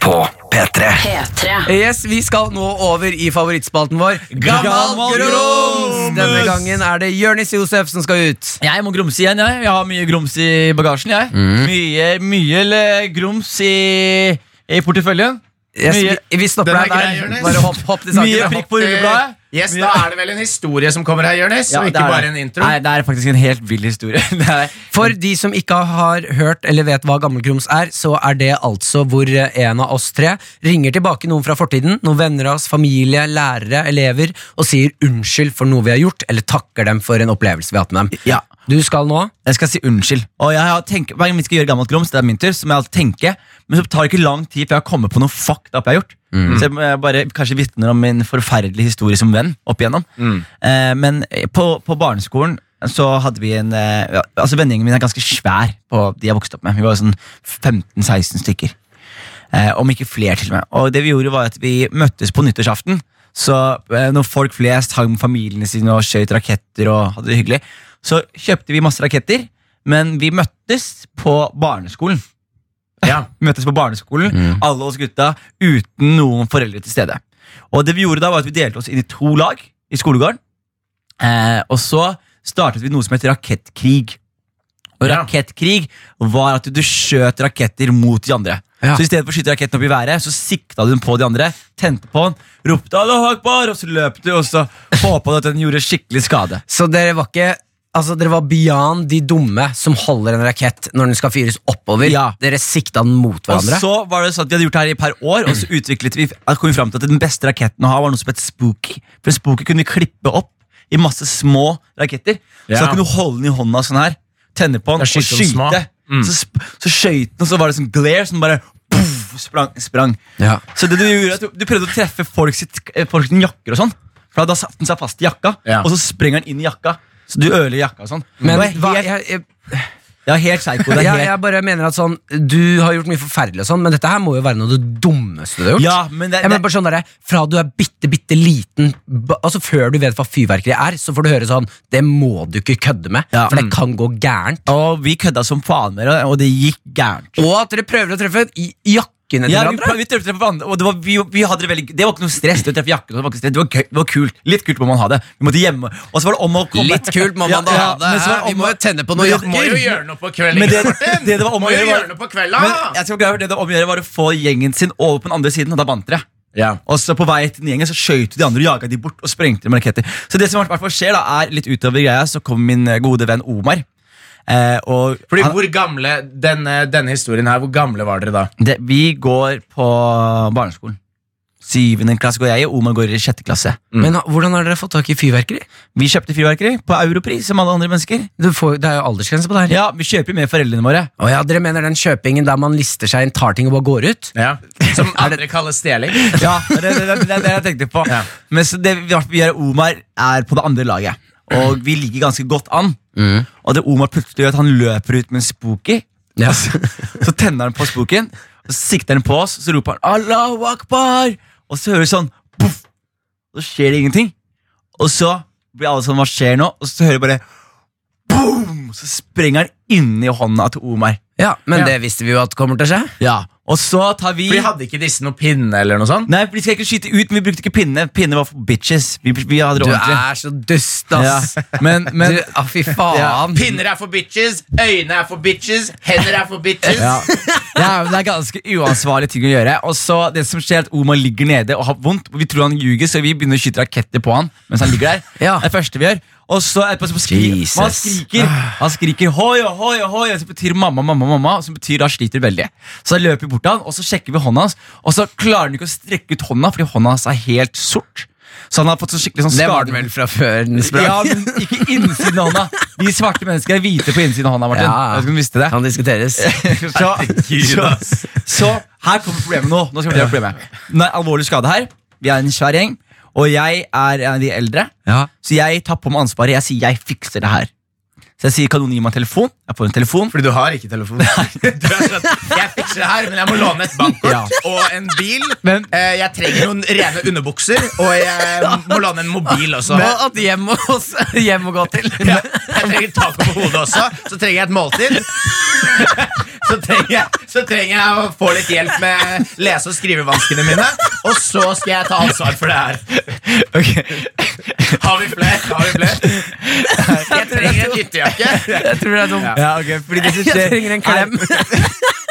S1: på P3.
S5: P3.
S2: Yes, Vi skal nå over i favorittspalten vår.
S4: Gammal grums!
S2: Denne gangen er det Jonis Josef som skal ut.
S4: Jeg må grumse igjen, jeg. Jeg har mye grums i bagasjen. jeg Mye, mye le- grums i, i porteføljen.
S2: Yes, vi,
S4: Mye-
S2: vi stopper
S3: Den er
S2: deg der.
S3: grei, Jonis.
S2: Bare hopp, hopp til saken.
S4: Mye prikk på rullebladet.
S3: Yes, Da er det vel en historie som kommer her, Jonis,
S4: Ja,
S3: og
S4: det
S3: ikke
S4: er
S3: bare
S4: det.
S3: en intro.
S4: Nei, det er faktisk en helt vill historie. Det er,
S2: For de som ikke har hørt eller vet hva gammelgrums er, så er det altså hvor en av oss tre ringer tilbake noen fra fortiden, noen venner av oss, familie, lærere, elever, og sier unnskyld for noe vi har gjort, eller takker dem for en opplevelse vi har hatt med dem.
S4: Ja.
S2: Du skal nå
S4: jeg skal si unnskyld. Og jeg har tenkt, Hver gang vi skal gjøre gammelt grums, det er min tur, så må jeg alltid tenke. Men så tar det ikke lang tid før jeg kommer på noe fucked up jeg har gjort.
S3: Mm.
S4: Så jeg må- jeg bare kanskje vitner om min forferdelige historie som venn opp igjennom.
S3: Mm.
S4: Eh, men på, på barneskolen så hadde vi en eh, ja, Altså Vennegjengen min er ganske svær på de jeg vokste opp med. Vi var sånn 15-16 stykker. Eh, om ikke flere til og med. Og det vi gjorde var at vi møttes på nyttårsaften. Så eh, når folk flest hang med familiene sine og skjøt raketter og hadde det hyggelig, så kjøpte vi masse raketter, men vi møttes på barneskolen.
S3: Ja.
S4: Vi møttes på barneskolen, alle oss gutta, uten noen foreldre til stede. Og det vi gjorde da, var at vi delte oss inn i to lag i skolegården. Eh, og så startet vi noe som het rakettkrig. Og
S3: Ja.
S4: rakettkrig var at du skjøt raketter mot de andre.
S2: Ja.
S4: Så i stedet for å skyte raketten opp i været, så sikta du den på de andre, tente på den, ropte Allah akbar, og så løp du, og så håpa du at den gjorde skikkelig skade.
S2: Så dere var ikke Altså Dere var beyond de dumme som holder en rakett når den skal fyres oppover.
S4: Ja.
S2: Dere sikta den mot
S4: Og
S2: hverandre.
S4: så var det sånn at Vi hadde gjort det her i et par år, og så utviklet vi da kom vi frem til at den beste raketten å ha var noe som het Spooky. For Spooky kunne klippe opp i masse små raketter. Så
S3: Ja.
S4: da kunne du holde den i hånda sånn her, tenne på den
S3: Da
S4: og
S3: skyter den små. Mm.
S4: skyte. Så, sp så skøyt den, og så var det sånn glare som bare puff, sprang. sprang.
S2: Ja.
S4: Så det du gjorde at du, du prøvde å treffe folk, sitt, eh, folk sin jakker og sånn. For da satte den seg fast i jakka,
S3: Ja.
S4: og så sprenger den inn i jakka. Så du ødelegger jakka og sånn.
S2: Men
S4: det,
S2: hva,
S4: var helt,
S2: jeg, jeg,
S4: det var helt psycho. Det
S2: jeg,
S4: er helt,
S2: jeg bare mener at sånn Du har gjort mye forferdelig, og sånn men dette her må jo være noe av det dummeste du har gjort.
S4: Ja, men det-
S2: jeg mener
S4: det-
S2: bare sånn der, Fra du er bitte, bitte liten, ba- altså før du vet hva fyrverkeri er, så får du høre sånn Det må du ikke kødde med,
S4: Ja. mm.
S2: for det kan gå gærent.
S4: Og vi kødda som faen med det, og det gikk gærent.
S2: Og at dere prøver å treffe i jakkene til
S4: Ja, vi,
S2: hverandre.
S4: vi treffte hverandre, og det var, vi, vi hadde det veldig Det var ikke noe stress. Det, jakken, det, var ikke stress det, var gøy, det var kult. Litt kult må man ha det. Vi måtte hjemme. Og så var det om å komme
S2: Litt kult må man da ha det,
S4: men så var
S2: hæ? Vi
S4: om å-
S2: må jo tenne på noen
S4: Men-
S2: jakker.
S3: Må jo gjøre noe på kvelden.
S4: Men det-
S3: Martin.
S4: det det var om å
S3: Må jo
S4: gjøre var-
S3: gjøre noe på kvelden.
S4: Men jeg skal forklare, det det var om å gjøre var å få gjengen sin over på den andre siden, og da vant dere.
S3: Ja.
S4: Og så på vei til den gjengen så skjøt de andre og jaga de bort og sprengte dem med raketter. Så det som i hvert fall skjer, da, er litt utover greia, så kommer min eh, gode venn Omar. Eh, og
S3: Fordi
S4: han,
S3: hvor gamle, denne, denne historien her, hvor gamle var dere da?
S4: det, vi går på barneskolen. Syvende klasse går jeg i, Omar går i sjette klasse.
S2: Men ha- hvordan har dere fått tak i fyrverkeri?
S4: Vi kjøpte fyrverkeri på europris som alle andre mennesker.
S2: Du får, det er jo aldersgrense på det her.
S4: Ja, Vi kjøper med foreldrene våre.
S2: Å ja, Dere mener den kjøpingen der man lister seg inn, tar ting og bare går ut?
S3: Ja. Som andre kaller stjeling.
S4: Ja, Det er det, det, det, er det jeg tenkte på.
S3: Ja.
S4: Men så det vi vi gjør, Omar er på det andre laget, og vi ligger ganske godt an. Og det Omar plutselig gjør, at han løper ut med en spooky.
S2: Ja.
S4: Så tenner han på spooken, og så sikter han på oss, så roper han Allahu akbar! Og så hører vi sånn poff! Og så skjer det ingenting. Og så blir alle sånn, hva skjer nå? Og så hører vi bare boom! Så sprenger han inni hånda til Omar.
S2: ja, Men
S3: Ja.
S2: det visste vi jo at kommer til å skje.
S4: Ja, og så tar vi
S3: For de hadde ikke disse noe pinne eller noe sånt?
S4: Nei, for de skal ikke skyte ut, men vi brukte ikke pinne Pinne var for bitches Vi, vi hadde det
S2: Du
S4: ordentlig
S2: er så dust, ass!
S4: ja. Men, men
S2: du, ah, fy faen.
S4: Ja.
S3: Pinner er for bitches, øyne er for bitches, hender er for bitches.
S4: ja. Det, er, det er ganske uansvarlige ting å gjøre Og så det som skjer er at Omar ligger nede og har vondt Vi tror han ljuger, så vi begynner å skyte raketter på han Mens han ligger der
S2: Ja.
S4: Det er det første vi gjør Og så er det på- så skri,
S2: Jesus.
S4: han skriker Han skriker hoi, hoi, hoi Som betyr mamma, mamma, mamma Som betyr da sliter veldig Så da løper vi bort til han Og så sjekker vi hånda hans Og så klarer han ikke å strekke ut hånda Fordi hånda hans er helt sort Så han har fått sånn skikkelig sånn
S2: Det var
S4: skade
S2: den vel fra før den sprang.
S4: Ja, men ikke innsiden av hånda. Vi svarte mennesker er hvite på innsiden av hånda, Martin.
S2: Ja.
S4: Jeg vet ikke om du visste det.
S2: Kan diskuteres.
S4: Så, så, så her kommer problemet nå. Nå skal vi til problemet. Nå er alvorlig skade her. Vi er en svær gjeng, og jeg er en av de eldre.
S2: Ja.
S4: Så jeg tar på meg ansvaret. Jeg sier 'jeg fikser det her'. Så jeg sier 'kan noen gi meg en telefon'? Jeg får en telefon.
S3: Fordi du har ikke telefon. Du er sånn, jeg fikser det her, men jeg må låne et bankkort og en bil.
S4: Men-
S3: Eh, jeg trenger noen rene underbukser, og jeg må låne en mobil også.
S2: Og at hjem, hos, hjem å gå til.
S3: Ja, jeg trenger tak på hodet også. Så trenger jeg et måltid. Så trenger jeg, så trenger jeg å få litt hjelp med lese- og skrivevanskene mine. Og så skal jeg ta ansvar for det her. Har vi flere? Har vi flere? Jeg trenger en ytterjakke.
S2: Jeg tror det er sånn- dumt.
S4: Ja, ok, fordi det som skjer
S2: Jeg trenger en klem.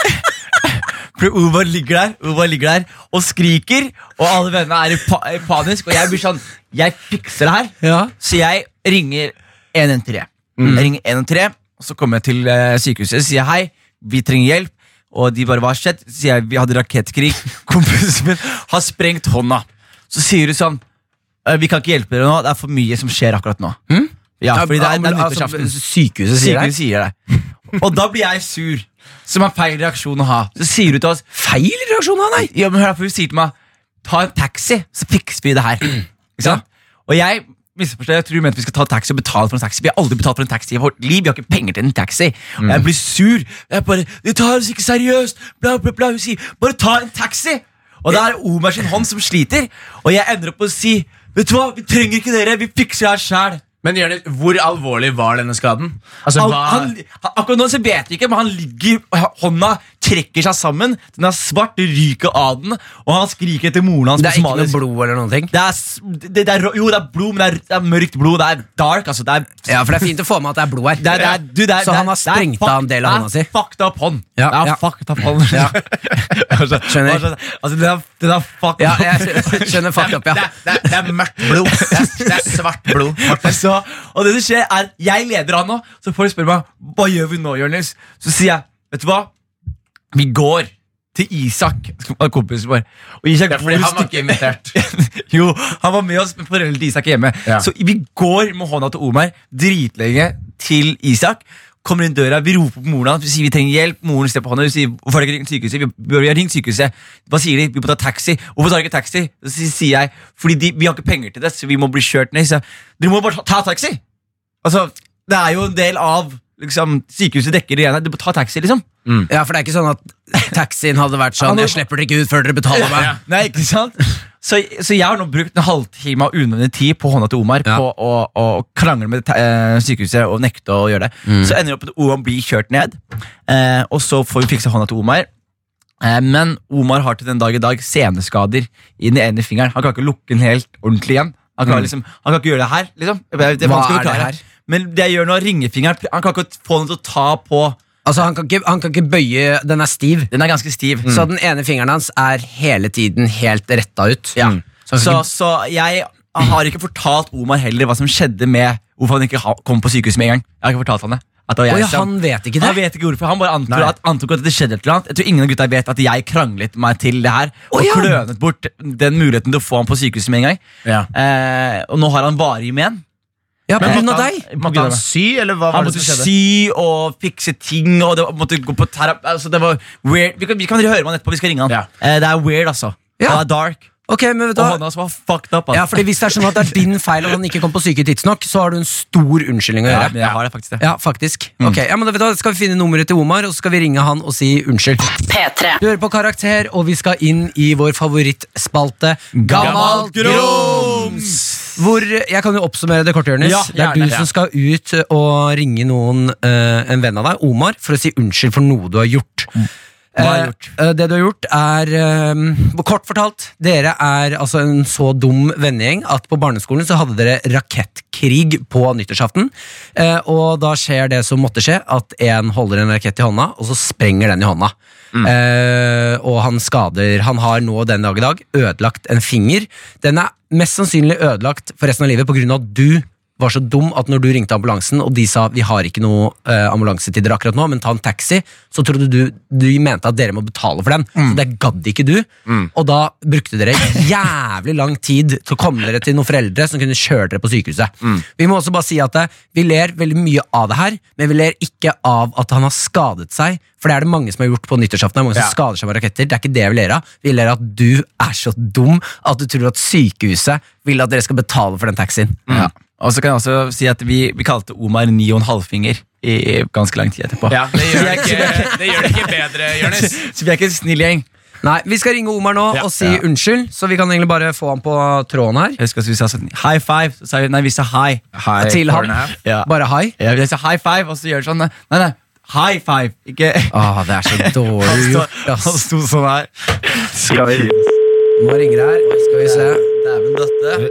S4: For Omar ligger der Omar ligger der og skriker, og alle vennene er i, pa i panisk. Og jeg blir sånn Jeg fikser det her.
S2: Ja.
S4: Så jeg ringer 113. Jeg ringer 113, og så kommer jeg til eh, sykehuset og sier hei, vi trenger hjelp. Og de bare hva har skjedd? Så sier jeg vi hadde rakettkrig. Kompisen min har sprengt hånda. Så sier du sånn «Eh, vi kan ikke hjelpe dere nå, det er for mye som skjer akkurat nå. Mm? Ja, fordi det er, det er
S2: Altså,
S4: nyttårsaften.
S2: sykehuset sier
S4: Sikkert
S2: det.
S4: sier det. Og da blir jeg sur, som er feil reaksjon å ha. Så sier du til oss
S2: Feil reaksjon av deg!
S4: ja, men hør da, for Hun sier til meg ta en taxi, så fikser vi det her. Ikke sant? Og jeg misforstår, jeg tror hun mente vi skal ta taxi og betale for en taxi. Vi har aldri betalt for en taxi i vårt liv. Vi har ikke penger til en taxi. Og jeg blir sur. Jeg bare, De tar oss ikke seriøst. Bla, bla, bla. Hun sier bare ta en taxi. Og det er Omar sin hånd som sliter. Og jeg ender opp med å si vet du hva, vi trenger ikke dere. Vi fikser det her sjæl.
S3: Men Jørgen, hvor alvorlig var denne skaden? Altså,
S4: Han,
S3: hva...
S4: han, han, akkurat nå så vet vi ikke, men han ligger hånda trekker seg sammen. Den er svart, det ryker av den, og han skriker etter moren hans
S2: Det
S4: på
S2: er ikke noe
S4: somalisk.
S2: blod eller noen ting?
S4: Det er, s- det, det er, rå- jo, det er blod, men det er, det er mørkt blod. Det er dark. altså Det er,
S2: Ja, for det er fint å få med at det er blod her.
S4: det er, det er, du, det er
S2: Så
S4: det er-
S2: han har
S4: det
S2: sprengt
S4: er
S2: av
S4: fuck-
S2: en del av hånda si.
S4: Det er fucked up hånd.
S2: Ja,
S4: det er
S2: ja.
S4: fucked up hånd.
S2: Ja.
S4: altså,
S2: Skjønner.
S4: Altså, altså, det er, det er fucked
S2: Ja,
S4: up.
S2: jeg skjønner- skjønner fucked up,
S3: Det
S2: ja.
S3: er, det, er, det er mørkt blod. Det er, det er svart blod. Morten.
S4: Så, og det som skjer er Jeg leder han nå, så folk spør meg Hva gjør vi nå, Jonis? Så sier jeg, vet du hva? Vi går til Isak, kompisen vår. Og Isak
S3: Det er fordi
S4: bor
S3: han var ikke invitert.
S4: jo, han var med oss, men foreldrene til Isak er hjemme.
S3: Ja.
S4: Så vi går med hånda til Omar dritlenge til Isak. Kommer inn døra, Vi roper på moren hans, vi sier vi trenger hjelp. Moren ser på hånda, vi sier hvorfor har dere ikke ringt sykehuset? Vi, vi har ringt sykehuset. Hva sier de? Vi må ta taxi. Hvorfor tar dere ikke taxi? Så sier- sier jeg fordi de, vi har ikke penger til det, så vi må bli kjørt ned. Så jeg, dere må bare ta, ta taxi! Altså, Det er jo en del av liksom, Sykehuset dekker det igjen. Du må ta taxi, liksom.
S2: Ja, for det er ikke sånn at taxien hadde vært sånn Jeg slipper dere ikke ut før dere betaler meg.
S4: Nei, ikke sant? Så, så jeg har nå brukt en halvtime av unødvendig tid på hånda til Omar
S2: Ja.
S4: på å, å krangle med te- eh, sykehuset og nekte å gjøre det.
S2: Mm.
S4: Så ender det opp med at Omar blir kjørt ned, eh, og så får vi fiksa hånda til Omar. Eh, men Omar har til den dag i dag seneskader i den ene fingeren. Han kan ikke lukke den helt ordentlig igjen. Han kan, liksom, han kan ikke gjøre det her. Liksom. Det er
S2: Mm. Hva
S4: vanskelig å
S2: er det
S4: forklare.
S2: her?
S4: Men det jeg gjør nå, ringefingeren Han kan ikke få den til å ta på
S2: Altså, han kan, ikke, han kan ikke bøye Den er stiv.
S4: Den er Mm. ganske stiv.
S2: Så den ene fingeren hans er hele tiden helt retta ut.
S4: Ja.
S2: Mm. Så han kan
S4: Så, så jeg har ikke fortalt Omar heller hva som skjedde med hvorfor han ikke ha- kom på sykehus med en gang. Jeg har ikke fortalt Han det At det var
S2: Å
S4: jeg
S2: ja,
S4: som-
S2: han vet ikke
S4: Han
S2: det?
S4: vet ikke hvorfor. Han bare antok
S3: Nei.
S4: at, antok at det skjedde et eller annet. Jeg tror ingen av gutta vet at jeg kranglet meg til det her og
S2: Å ja.
S4: klønet bort den muligheten til å få han på sykehuset med en gang.
S3: Ja.
S4: Eh, og nå har han varig med en.
S2: Ja, på
S4: Men
S2: grunn av
S4: måtte
S2: deg?
S4: han-
S3: Måtte han sy, eller hva
S4: Han
S3: var det
S4: måtte
S3: som skjedde?
S4: sy og fikse ting og det var, måtte gå på terapi. Altså, det var weird. Vi kan, vi kan høre med han etterpå. Vi skal ringe han.
S3: Ja.
S4: Eh, det er weird, altså.
S2: Ja.
S4: Det er dark.
S2: Ok, men vet du
S4: Og
S2: hva?
S4: hånda hans var fucked up.
S2: Ja,
S4: Altså.
S2: fordi Hvis det er sånn at det er din feil at han ikke kom på syke tidsnok, så har du en stor unnskyldning å
S4: Ja,
S2: gjøre.
S4: men jeg har det faktisk det.
S2: Ja, faktisk. Ok, ja, men da vet du hva, Skal vi finne nummeret til Omar, og så skal vi ringe han og si unnskyld.
S5: P3.
S2: Du hører på Karakter, og vi skal inn i vår favorittspalte Gammalt grums! Hvor Jeg kan jo oppsummere det kort, Jonis.
S4: Ja,
S2: det er
S4: gjerne,
S2: du
S4: ja.
S2: som skal ut og ringe noen, eh, en venn av deg, Omar, for å si unnskyld for noe du har gjort.
S4: Hva har jeg gjort?
S2: Eh, Det du har gjort er eh, Kort fortalt, dere er altså en så dum vennegjeng at på barneskolen så hadde dere rakettkrig på nyttårsaften. Eh, og da skjer det som måtte skje, at en holder en rakett i hånda, og så sprenger den i hånda.
S4: Mm.
S2: Eh, og han skader Han har nå den dag i dag ødelagt en finger. Den er mest sannsynlig ødelagt for resten av livet pga. at du var så dum at når du ringte ambulansen og de sa vi har ikke noe eh, ambulansetider akkurat nå, men ta en taxi, så trodde du de mente at dere må betale for den. Så det gadd ikke du. Og da brukte dere jævlig lang tid til å komme dere til noen foreldre som kunne kjøre dere på sykehuset. Vi må også bare si at eh, vi ler veldig mye av det her, men vi ler ikke av at han har skadet seg. For det er det mange som har gjort på nyttårsaften. Det er mange som
S3: Ja.
S2: skader seg med raketter. Det er ikke det vi ler av. Vi ler av at du er så dum at du tror at sykehuset vil at dere skal betale for den taxien.
S4: Ja. Og så kan jeg også si at vi, vi kalte Omar ni og en halvfinger i ganske lang tid etterpå.
S3: Ja, det gjør det ikke, det gjør det ikke bedre, Jonis.
S4: Så vi er ikke en snill gjeng.
S2: Nei, vi skal ringe Omar nå
S3: Ja.
S2: og si unnskyld, så vi kan egentlig bare få han på tråden her.
S4: Jeg husker at vi sa sånn high five. Så sa vi nei, vi sa high.
S2: Til han.
S4: Ja.
S2: Bare hei.
S4: Ja, vi sa high five, og så gjør det sånn. Nei, nei, high five. Ikke
S2: Ah, det er så
S4: Han
S2: dårlig
S4: sto,
S2: gjort,
S4: han
S2: ass.
S4: sto sånn her.
S2: Nå ringer det her. Skal vi se.
S4: Dæven døtte.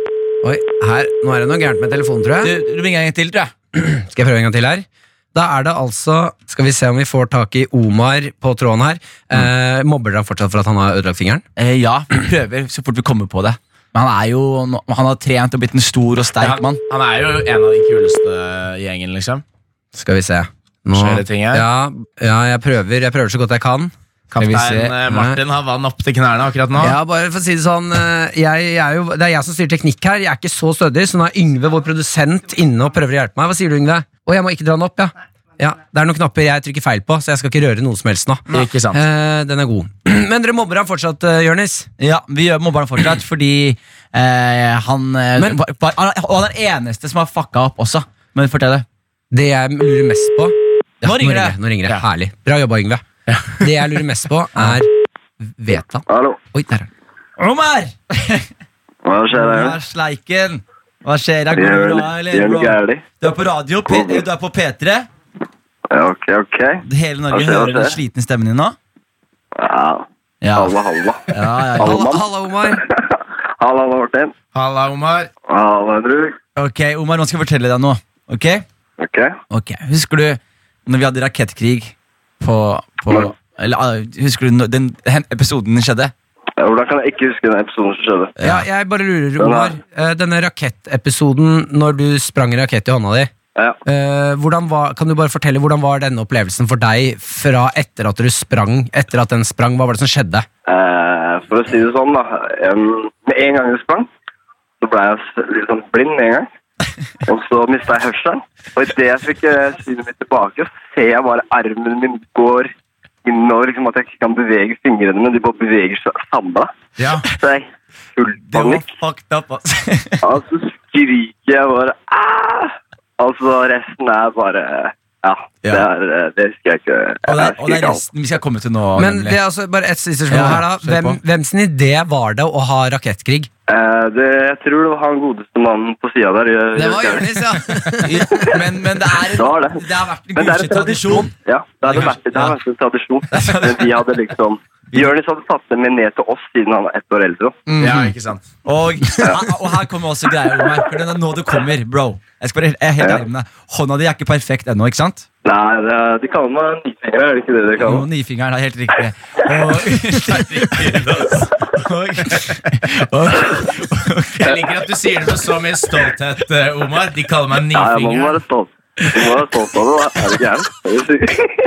S2: Oi, her. Nå er det noe gærent med telefonen, tror
S4: Du,
S2: jeg.
S4: du ringer en gang til, tror jeg.
S2: Skal jeg prøve en gang til her? Da er det altså Skal vi se om vi får tak i Omar på tråden her.
S3: Mm.
S2: Eh, mobber dere han fortsatt for at han har ødelagt fingeren?
S4: Eh, ja, vi prøver så fort vi kommer på det. Men han er jo Han har trent og blitt en stor og sterk
S3: Han,
S4: mann.
S3: han er jo en av de kuleste gjengen, liksom.
S2: Skal vi se. Nå.
S3: Skjer det ting her?
S2: Ja, ja jeg, prøver, jeg prøver så godt jeg kan. Skal vi
S3: Kaptein
S2: se.
S3: eh, Martin har vann opp til knærne akkurat nå.
S2: Ja, bare for å si Det sånn eh, jeg, jeg er jo, Det er jeg som styrer teknikk her. Jeg er ikke så stødig, så nå er Yngve, vår produsent, inne og prøver å hjelpe meg. Hva sier du, Yngve? Å, jeg må ikke dra den opp, ja. ja. Det er noen knapper jeg trykker feil på, så jeg skal ikke røre noe som helst nå.
S3: Ikke sant.
S2: Eh, den er god. Men dere mobber han fortsatt, uh, Jonis?
S4: Ja, vi gjør mobber han fortsatt fordi eh, han, eh,
S2: Men-
S4: var- var- han er- Og han er den eneste som har fucka opp også. Men fortell det.
S2: Det jeg lurer mest på Ja,
S4: Nå ringer det.
S2: Nå ringer det.
S3: Ja.
S2: Herlig. Bra jobba, Yngve. Det jeg lurer mest på, er Vet han?
S6: Hallo,
S2: Oi, der er han.
S4: Omar!
S6: hva skjer
S4: Du
S6: her?
S4: er sleiken. Hva skjer? Er det
S6: Gjør
S4: bra,
S6: noe-
S4: eller?
S6: gjør noe
S4: bro?
S6: gærlig.
S4: Du er på radio, P du er på P3.
S6: Ja, ok, ok.
S4: Hele Norge
S6: Hva skjer, hva
S4: hører den
S6: skjer?
S4: slitne stemmen din nå.
S6: Ja.
S4: Ja.
S6: Halla, halla.
S4: Ja, ja.
S6: Hallo,
S2: Halla,
S6: mann.
S2: halla, Omar.
S6: Halla, halla, Martin.
S3: Halla, Omar.
S6: Halla, Henrik.
S4: Ok, Omar, nå skal jeg fortelle deg noe. Ok?
S6: Ok.
S4: Ok, Husker du når vi hadde rakettkrig på, på eller, ah, Husker du når den hen- episoden den skjedde?
S6: Hvordan kan jeg ikke huske den episoden som skjedde?
S2: Ja, jeg bare lurer, Omar. eh, Denne rakettepisoden når du sprang en rakett i hånda di,
S6: Ja.
S2: eh, hvordan var, kan du bare fortelle hvordan var denne opplevelsen for deg fra etter at du sprang? Etter at den sprang, Hva var det som skjedde?
S6: Eh, for å si det sånn, da. em, med en gang jeg sprang, så ble jeg s- litt sånn blind med en gang. Og så mista jeg hørselen. Og idet jeg fikk eh, synet mitt tilbake, så ser jeg bare armen min går innover. liksom At jeg ikke kan bevege fingrene, men de bare beveger seg samla.
S3: Ja.
S6: Så jeg er full
S4: Det var
S6: panikk.
S4: fucked up, ass.
S6: Og så skriker jeg bare Aah! Og så resten er bare Ja. Det,
S4: Ja.
S6: er, eh, det husker jeg ikke.
S4: Og det, er-
S6: Jeg
S4: og det
S6: husker
S4: er
S6: ikke alt.
S4: resten vi skal komme til nå.
S2: Men
S4: nemlig.
S2: det er altså bare et siste spørsmål
S4: Ja,
S2: her da
S4: kjør på.
S2: Hvem, Hvem sin idé var det å ha rakettkrig?
S6: Eh, det, jeg tror det var han godeste mannen på sida der. Jeg-
S2: Det var
S6: jeg-
S2: Jonis, ja.
S4: men, men det er
S6: Det var det.
S4: Det har vært en
S6: Men det er en
S4: gudskjelov tradisjon.
S6: Ja, det, hadde vært, det
S4: Ja.
S6: hadde vært en tradisjon. Men vi hadde liksom Jonis hadde tatt dem med ned til oss siden han var ett år eldre.
S4: Mm.
S3: ja, ikke sant.
S4: Og, og her kommer også greia, Omar. For det er nå det kommer, bro. Jeg skal bare, jeg er helt ærlig med deg. Hånda di er ikke perfekt ennå, ikke sant?
S6: Nei, det, de kaller meg nyfinger, er det ikke det de kaller
S4: Jo,
S6: meg?
S4: nifingeren er helt riktig. Og, og, og,
S3: Jeg liker at du sier det med så mye stolthet, eh, Omar. De kaller meg
S6: Ja, jeg må
S3: nifinger.
S6: være stolt. Du må være stolt av det, da. Er du gæren? Er du syk?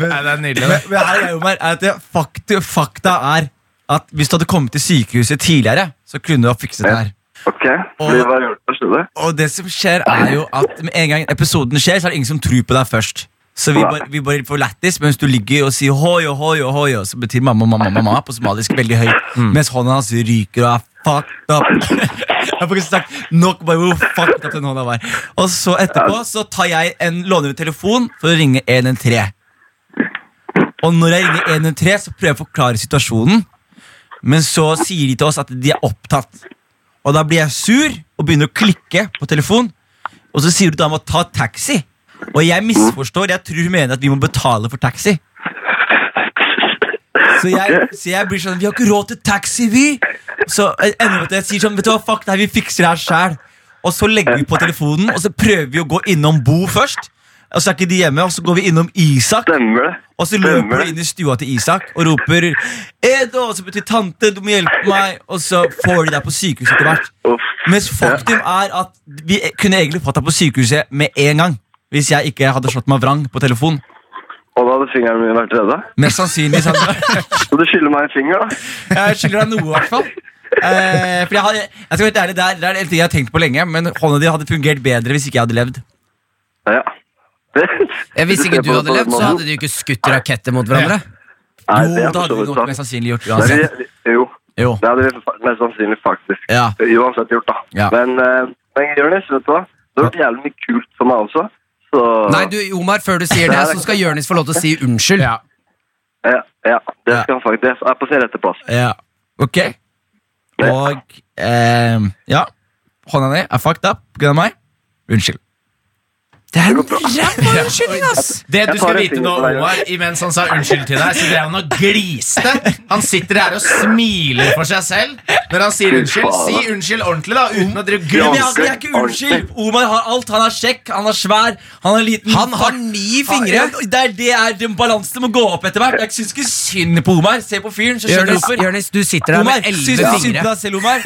S3: Nei, det er nydelig.
S4: men, men her er jo mer, er at det fakta, fakta er at hvis du hadde kommet til sykehuset tidligere, så kunne du ha fikset det her.
S6: Ok, blir hva gjort for stedet.
S4: Og det som skjer er jo at med en gang episoden skjer, så er det ingen som tror på deg først. Så vi bare, vi bare får lættis mens du ligger og sier hoio, hoio, hoio, så betyr mamma, mamma, mamma på somalisk veldig høyt, mens hånda hans ryker og er fucked up. Jeg får ikke sagt nok bare hvor fucked up den hånda var. Og så etterpå så tar jeg en låner en telefon for å ringe 113. Og når jeg ringer 113, så prøver jeg å forklare situasjonen, men så sier de til oss at de er opptatt. Og da blir jeg sur og begynner å klikke på telefon. Og så sier du til ham å ta taxi. Og jeg misforstår. Jeg tror hun mener at vi må betale for taxi. Så jeg, så jeg blir sånn Vi har ikke råd til taxi, vi! Så jeg ender opp at jeg sier sånn Vet du hva, fuck det her, vi fikser det her sjæl. Og så legger vi på telefonen, og så prøver vi å gå innom Bo først. Og så er ikke de hjemme, og så går vi innom Isak.
S6: Stemmer det?
S4: Og så
S6: Stemmer
S4: løper du
S6: det.
S4: inn i stua til Isak og roper Edo, som betyr tante, du må hjelpe meg. Og så får de deg på sykehuset etter hvert.
S6: Uff.
S4: Mens faktum er at vi kunne egentlig fått deg på sykehuset med en gang. Hvis jeg ikke hadde slått meg vrang på telefon.
S6: Og da hadde fingeren min vært redda.
S4: Mest sannsynlig så hadde
S6: Så du skylder meg en finger, da?
S4: Jeg skylder deg noe, i hvert fall. Eh, for jeg, hadde, jeg skal være helt ærlig, det er, det er en ting jeg har tenkt på lenge, men hånda di hadde fungert bedre hvis ikke jeg hadde levd.
S6: Ja. Det-
S2: Ja, Hvis
S6: ser
S2: ikke du
S6: på det
S2: hadde
S6: på den
S2: levd, så
S6: måten.
S2: hadde du ikke skutt raketter mot hverandre.
S6: Nei,
S4: Jo,
S6: det
S4: da
S6: er for
S4: hadde
S6: så
S4: vi
S6: vidt
S4: nok mest
S6: sant.
S4: sannsynlig gjort
S6: Det
S4: uansett.
S6: er- Jo.
S4: Jo.
S6: Det hadde vi fa- mest sannsynlig faktisk
S4: Ja.
S6: uansett gjort, da.
S4: Ja.
S6: Men, eh, men Jonis, vet du hva? Du har gjort jævlig mye kult for meg også. Så
S2: Nei, du, Omar, før du sier det, så skal Jonis få lov til å si unnskyld.
S3: Ja.
S6: ja, ja, det
S4: Ja.
S6: skal han faktisk. Jeg er på sin rette plass.
S4: Ja. Ok. Og eh, ja. Hånda di er fucked up pga. meg. Unnskyld. Det er en ræva unnskyldning, ass!
S3: Det du
S6: Jeg
S3: skal
S6: tar en
S3: vite
S6: finger
S3: nå,
S6: på deg,
S3: Omar, imens han sa unnskyld til deg, så drev han og gliste. Han sitter her og smiler for seg selv når han sier unnskyld. Si unnskyld ordentlig, da, uten å drive
S4: Men
S3: grums.
S4: jeg, det er ikke unnskyld. Omar har alt. Han er kjekk, han er svær, han er liten.
S2: Han har ni fingre!
S4: Ja, det er det er den balansen må gå opp etter hvert. Jeg syns ikke synd på Omar. Se på fyren, så skjønner du
S2: Jonis,
S4: hvorfor.
S2: Jonis, du sitter der
S4: Omar,
S2: med
S4: syns
S2: elleve
S4: du synd på
S2: fingre.
S4: deg selv, Omar?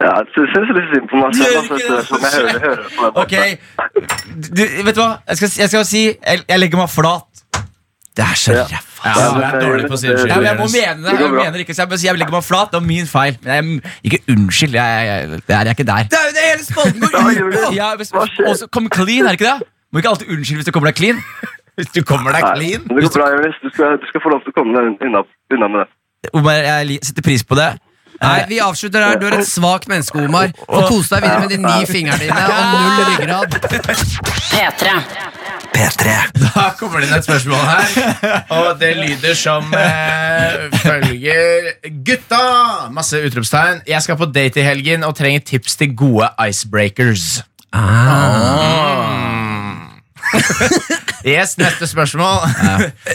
S6: Ja, jeg sy- syns litt synd på meg
S4: Du
S6: selv.
S4: gjør ikke
S6: altså,
S4: det.
S6: etter som jeg hører, hører på den
S4: Ok. Du, vet du hva? Jeg skal, jeg skal si jeg, jeg legger meg flat.
S2: Det er så
S6: Ja.
S2: ræva.
S3: Ja, du er dårlig på å si
S4: Ja, men jeg må
S3: unnskyld. Jonas.
S4: mene det.
S6: Det går
S4: Jeg
S6: bra.
S4: mener ikke, så jeg, bare sier jeg legger meg flat. Det var min feil. Men jeg, ikke unnskyld. Jeg, jeg, jeg, det er jeg er ikke der.
S2: Det er jo det hele spalten går
S6: Ja,
S2: ut
S6: Jonas.
S2: på!
S4: Ja, hvis- Og så kom clean, er det ikke det? Må ikke alltid unnskylde hvis du kommer deg clean.
S3: Hvis du kommer deg
S6: Nei,
S3: clean
S6: men det går bra, Jonis. Du, skal- du skal få lov til å komme deg unna, unna med det.
S4: Omar, jeg li- setter pris på det.
S2: Nei, vi avslutter her. Du er et svakt menneske, Omar. Få kose deg videre med de ni fingrene dine og null ryggrad.
S5: P3.
S1: P3
S3: Da kommer det inn et spørsmål her, og det lyder som eh, følger. Gutta! Masse utropstegn. Jeg skal på date i helgen og trenger tips til gode icebreakers.
S2: Ah.
S3: Yes, Neste spørsmål.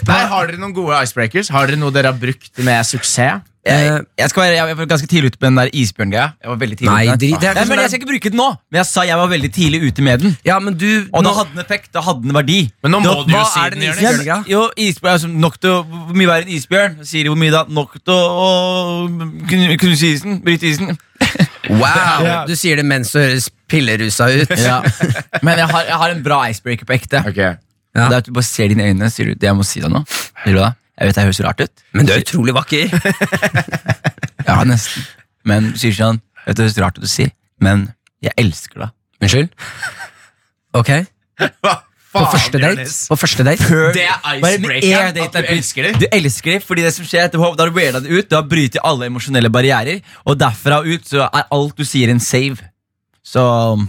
S3: Nei, Har dere noen gode icebreakers? Har dere noe dere har brukt med suksess?
S2: Eh.
S4: Jeg, jeg, skal være, jeg var ganske tidlig ute med den der isbjørngreia. Jeg var veldig tidlig
S2: Nei,
S4: ute med den.
S2: drit- det er ikke
S4: Nei,
S2: sånn
S4: men
S2: der-
S4: Jeg skal ikke bruke den nå, men jeg sa jeg var veldig tidlig ute med den.
S2: Ja, men du
S4: Og da
S2: nå-
S4: hadde den effekt. Da hadde den verdi.
S3: Men nå må
S4: Da-
S3: du jo
S4: hva
S3: si
S4: er
S3: den,
S4: den
S3: Jonis.
S4: isbjørn-
S2: Bjørngreia?
S4: Jo, isbjørn, altså, nok til å, Hvor mye er en isbjørn? Sier de hvor mye da? Nok til å å knu- knuse isen? Bryte isen?
S2: Wow! Du sier det mens du høres pillerusa ut.
S4: Ja. Men jeg har, jeg har en bra icebreaker på ekte.
S2: Ja.
S4: Det er at du bare ser dine øyne sier du det jeg må si deg nå. Sier du det? Jeg vet det høres rart ut.
S2: Men du er utrolig vakker.
S4: Ja, nesten. Men sier sånn Jeg vet det høres rart ut du sier, men jeg elsker deg.
S2: Unnskyld? Ok.
S3: Hva
S2: På
S3: faen,
S2: første date?
S3: Jonis?
S2: På første date?
S3: Det er
S4: Bare med
S3: icebreakeren,
S4: en date
S3: at du
S4: er bryt-
S3: elsker dem.
S4: Du elsker dem, fordi det som skjer etterpå, da har du weirda det ut, da bryter alle emosjonelle barrierer, og derfra ut så er alt du sier en save. Så um,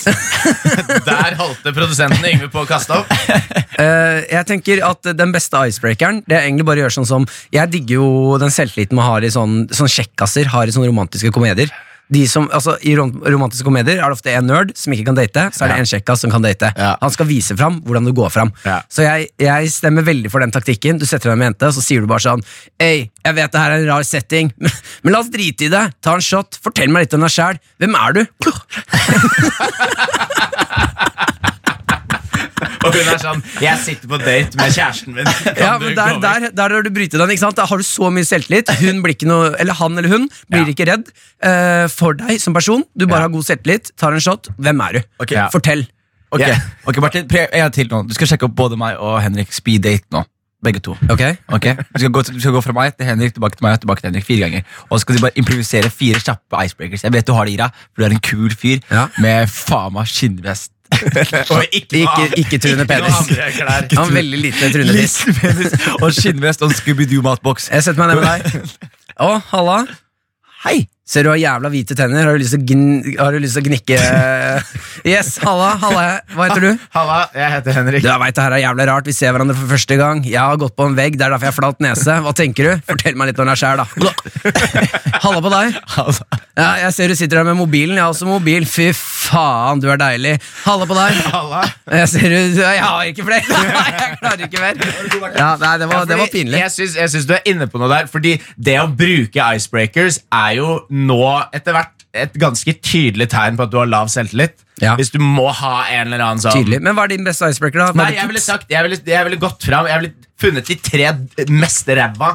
S3: Der holdt det produsenten Yngve på å kaste opp.
S2: Eh, jeg tenker at Den beste icebreakeren Det er egentlig bare å gjøre sånn som Jeg digger jo den selvtilliten man har i sånn, sånn kjekkasser har i sånne romantiske komedier. De som, altså, I rom romantiske komedier er det ofte en nerd som ikke kan date, så er det en kjekkas som kan date.
S3: Ja.
S2: Han skal vise fram hvordan du går fram.
S3: Ja.
S2: Så jeg, jeg stemmer veldig for den taktikken. Du setter deg med en jente, og så sier du bare sånn Ei, jeg vet det her er en rar setting, men, men la oss drite i det. Ta en shot. Fortell meg litt om deg sjæl. Hvem er du?
S3: Og hun er sånn Jeg sitter på date med kjæresten min. Kan
S2: Ja,
S3: du
S2: men
S3: gå
S2: der,
S3: over?
S2: der, der har du brytet den, ikke sant? Da har du så mye selvtillit. Hun blir ikke noe, eller han eller hun blir ikke redd eh, for deg som person. Du bare har god selvtillit, tar en shot. Hvem er du?
S4: Ok. Ja.
S2: Fortell.
S4: Ok,
S3: Ja.
S4: ok, Martin, prøv en gang til nå. Du skal sjekke opp både meg og Henrik speed date nå. Begge to.
S2: Ok?
S4: Ok, Du skal, gå, til- du skal gå fra meg til Henrik, tilbake til meg og tilbake til Henrik fire ganger. Og så skal du bare improvisere fire kjappe icebreakers. Jeg vet du har det i deg, for du er en kul fyr
S2: Ja.
S4: med faen meg skinnvest.
S3: Og ikke,
S2: Ikke, ikke truende penis.
S3: Ikke noe andre klær.
S2: Han har veldig lite truende tiss.
S4: Liten penis og skinnvest og en Scooby-Doo-matboks.
S2: Jeg setter meg ned med deg. Å, halla.
S4: Hei!
S2: Ser du har jævla hvite tenner. Har du lyst til å, gn har du lyst til å gnikke Yes, halla. halla. Hva heter du?
S3: Halla, jeg heter
S2: Du
S3: Henrik.
S2: jeg vet, det her er jævla rart. Vi ser hverandre for første gang. Jeg har gått på en vegg, det er derfor jeg har flat nese. Hva tenker du? Fortell meg litt om deg sjæl, da. Halla på deg.
S4: Altså,
S2: Ja, jeg ser du sitter her med mobilen. Jeg har også mobil. Fy faen, du er deilig. Halla på deg.
S3: Halla.
S2: Jeg ser du Jeg har ikke flere. Nei, jeg klarer ikke mer. Ja, nei, det var, det var
S3: Fordi
S2: pinlig.
S3: Jeg syns, jeg syns du er inne på noe der, fordi det å bruke icebreakers er jo nå etter hvert et ganske tydelig tegn på at du har lav selvtillit.
S2: Ja.
S3: Hvis du må ha en eller annen sånn
S2: Tydelig. Men hva er din beste icebreaker, da? Hva
S3: Nei,
S2: er ditt
S3: jeg ville
S2: tips?
S3: sagt Jeg ville, jeg ville gått fram Jeg ville funnet de tre mest ræva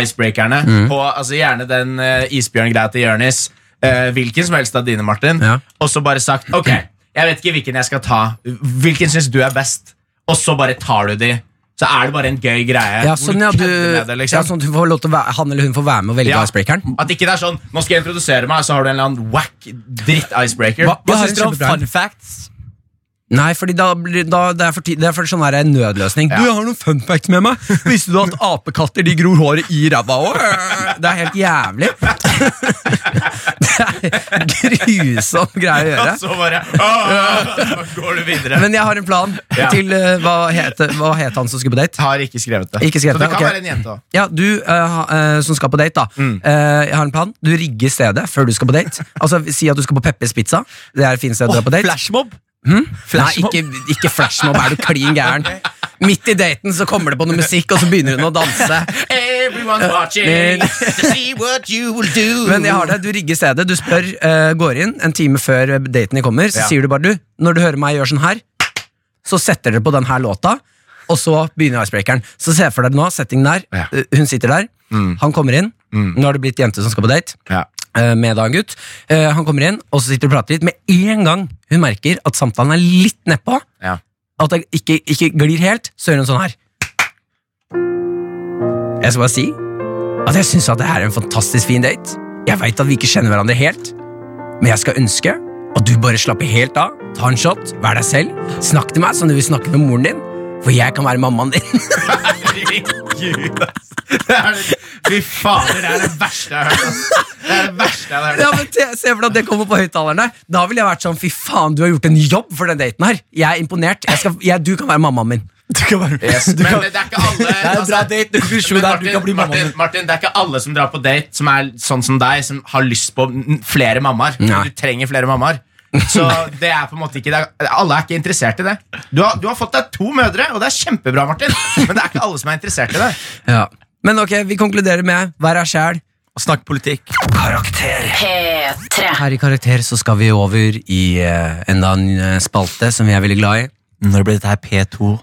S3: icebreakerne
S2: Mm.
S3: på altså gjerne den eh, isbjørngreia til Jonis. eh, hvilken som helst av dine, Martin.
S2: Ja.
S3: Og så bare sagt Ok, jeg vet ikke hvilken jeg skal ta. Hvilken syns du er best? Og så bare tar du de. Så er det bare en gøy greie.
S2: ja,
S3: hvor
S2: sånn, ja, du,
S3: kødder med det, liksom.
S2: ja, sånn at du får lov til å være, han eller hun får være med og velge
S3: Ja.
S2: icebreakeren.
S3: At ikke det er sånn Nå skal jeg introdusere meg, så har du en eller annen whack dritt-icebreaker.
S4: hva
S2: Jeg
S4: hva
S2: har en
S4: syns dere om
S2: kjempeplan.
S4: fun facts?
S2: Nei, fordi da, blir- da det, er for, ti- det er for sånn her en nødløsning. Du, jeg har noen fun facts med meg. Visste du at apekatter de gror håret i ræva òg? Det er helt jævlig. Det er grusom greie å
S3: Og
S2: gjøre.
S3: så bare «Åh!» Så går du videre.
S2: Men jeg har en plan
S3: Ja.
S2: til eh, hva, het, hva het han som skulle på date?
S3: har ikke skrevet det.
S2: Ikke skrevet
S3: så det
S2: det,
S3: kan
S2: ok.
S3: være en jente òg.
S2: Ja, du eh, ha- eh, som skal på date, da. Eh, jeg har en plan. Du rigger stedet før du skal på date. Altså, Si at du skal på Peppers Pizza. Det er et fint sted å dra på date.
S4: Flashmob?
S2: Nei, ikke, ikke flashmob, er du klin gæren. Midt i daten så kommer det på noe musikk, og så begynner hun å danse.
S4: Eh,
S3: Everyone's watching to see what you will do.
S2: Men jeg har det, du rigger stedet, du spør, eh, går inn en time før eh, daten din kommer, så
S3: Ja.
S2: sier du bare du, når du hører meg gjøre sånn her, så setter dere på den her låta, og så begynner icebreakeren. Så se for deg nå, settingen der,
S3: Ja. Mm.
S2: eh, hun sitter der, han kommer inn, nå har det blitt jente som skal på date.
S3: Ja.
S2: eh, Med da en gutt Eh, Han kommer inn, og så sitter du og prater litt Med en gang hun merker at samtalen er litt nedpå
S3: Ja.
S2: at det ikke, ikke glir helt, så gjør hun sånn her. Jeg skal bare si at jeg syns det her er en fantastisk fin date. Jeg veit at vi ikke kjenner hverandre helt, men jeg skal ønske at du bare slapper helt av, ta en shot, vær deg selv, snakk til meg som du vil snakke med moren din, for jeg kan være mammaen din.
S3: Herregud, ass. Det er det- Fy fader, det er det verste jeg har hørt. ass. Det er det verste jeg har hørt.
S2: ja, men te- Se for deg at det kommer på høyttalerne. Da ville jeg vært sånn fy faen, du har gjort en jobb for den daten her. Jeg er imponert. Jeg skal, jeg, du kan være mammaen min.
S4: Du kan bare
S3: Yes, men det er ikke alle altså,
S4: Det er en bra date. Du kan
S3: men
S4: der, du kan bli
S3: Martin,
S4: mammaen
S3: Martin,
S4: din.
S3: Martin, det er ikke alle som drar på date som er sånn som deg, som har lyst på n- flere mammaer.
S2: Nei.
S3: Du trenger flere mammaer. Så det er på en måte ikke det er, Alle er ikke interessert i det. Du har, du har fått deg to mødre, og det er kjempebra, Martin, men det er ikke alle som er interessert i det.
S2: Ja. Men ok, vi konkluderer med vær deg sjæl.
S4: Snakk politikk.
S1: Karakter.
S5: P3.
S2: Her i Karakter så skal vi over i eh, enda en eh, spalte som vi er veldig glad i.
S4: Når ble dette her P2?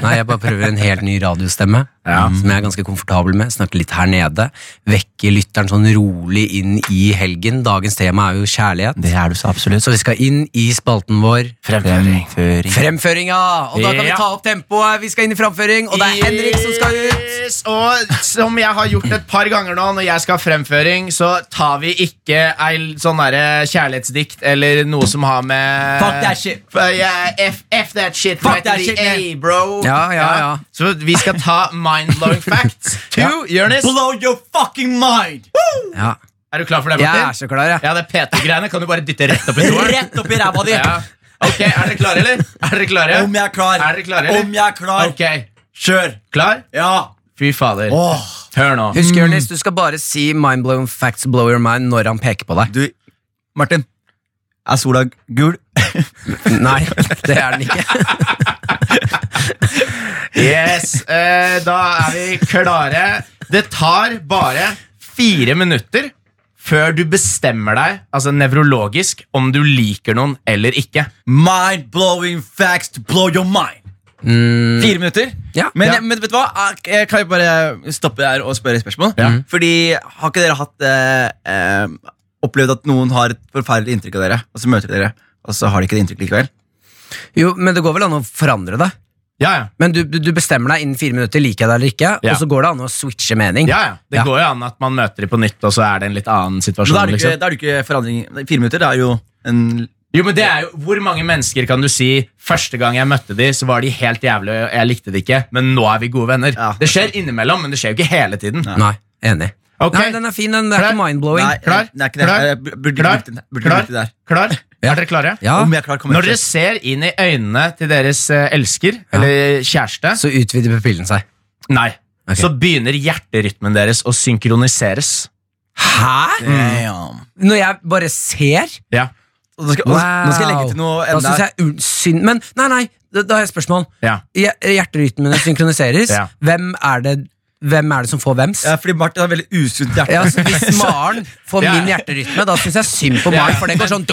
S2: Nei, jeg bare prøver en helt ny radiostemme Som jeg er ganske komfortabel med Snakker litt her nede Vekker lytteren sånn rolig inn i helgen Dagens tema er jo kjærlighet
S4: Det er du så absolutt.
S2: Så vi skal inn i spalten vår
S4: Fremføring. Fremføring.
S2: Fremføringa! Og da kan vi
S3: Ja.
S2: ta opp tempoet Vi skal inn i framføring Og det er Henrik som skal ut
S3: Yes, Og som jeg har gjort et par ganger nå, når jeg skal ha fremføring, så tar vi ikke ei l- sånn derre kjærlighetsdikt eller noe som har med
S4: Fuck that shit.
S3: F- yeah, F, F that shit.
S4: Fuck
S3: right to
S4: that
S3: the
S4: shit,
S3: A,
S4: man.
S3: bro.
S2: Ja, ja, ja.
S3: Så vi skal ta mind-blowing facts. To, Jonis.
S4: Blow your fucking mind!
S2: ja.
S3: Er du klar for det,
S2: Jeg er
S3: Martin?
S2: så klar, jeg
S3: Ja, det PT-greiene kan du bare dytte rett opp i toeren.
S4: Rett opp i ræva di!
S3: Ja. Ok, er dere klare, eller? Er dere klare?
S4: Om jeg er klar.
S3: Er dere klare, eller?
S4: Om jeg er klar.
S3: Ok,
S4: Kjør!
S3: Klar?
S4: Ja.
S3: Fy fader.
S4: Åh.
S3: Hør nå.
S2: Husk, Jonis, du skal bare si Mind blowing facts blow your mind Når han peker på deg
S4: Du, Martin. Er sola gul?
S2: Nei, det er den ikke
S3: Yes, eh, da er vi klare. Det tar bare fire minutter før du bestemmer deg altså nevrologisk om du liker noen eller ikke.
S4: Mind-blowing facts to blow your mind. Fire minutter?
S2: Ja.
S4: Men,
S3: Mm. Ja.
S4: men vet du hva? Ah, Jeg kan jo bare stoppe der og spørre et spørsmål.
S2: Mm.
S4: Fordi Har ikke dere hatt eh, eh, opplevd at noen har et forferdelig inntrykk av dere, og så møter vi dere, og så har de ikke det inntrykket likevel?
S2: Jo, men det går vel an å forandre det
S3: Ja, ja.
S2: Men du, du bestemmer deg innen fire minutter, liker jeg deg eller ikke,
S3: Ja.
S2: og så går det an å switche mening.
S3: ja, ja. Det
S2: Ja.
S3: går jo an at man møter dem på nytt, og så er det en litt annen
S4: Men
S3: situasjon.
S4: da er det ikke,
S3: liksom.
S4: da er det ikke forandring Fire minutter det er jo en
S3: Jo, men det er jo, Hvor mange mennesker kan du si første gang jeg møtte dem, så var de helt jævlig, og jeg likte det ikke, men nå er vi gode venner?
S4: Ja.
S3: Det skjer innimellom, men det skjer jo ikke hele tiden.
S2: Nei, enig.
S3: Ok.
S2: Nei, den er fin, den. Det er
S3: Klar.
S2: ikke mind-blowing.
S4: Nei,
S3: Klar?
S4: Det er ikke det.
S3: Klar?
S4: Jeg burde
S3: Klar?
S4: brukt den- burde
S3: Klar?
S4: brukt det der.
S3: Klar?
S2: Ja.
S3: Er dere klare?
S2: Ja,
S4: Om jeg er klar, kommer
S3: Når
S4: jeg
S3: dere ser inn i øynene til deres eh, elsker eller kjæreste,
S2: så utvider pupillen seg.
S3: nei,
S2: Ok.
S3: så begynner hjerterytmen deres å synkroniseres.
S4: Mm.
S2: Hæ?!
S4: Damn.
S2: Når jeg bare ser?
S3: Ja.
S4: Og Nå skal, og nå skal jeg legge til noe
S2: Da
S4: enda
S2: synes jeg un- synd Men nei, nei, da da har jeg et spørsmål.
S3: Ja.
S2: Hjer- Hjerterytmene synkroniseres.
S3: Ja.
S2: Hvem, er det, hvem er det som får hvems?
S4: ja, Fordi Martin har veldig usunt hjerte.
S2: Ja, så Hvis Maren får
S3: Ja.
S2: min hjerterytme, da syns jeg synd på
S3: Ja.
S2: Maren, for det går sånn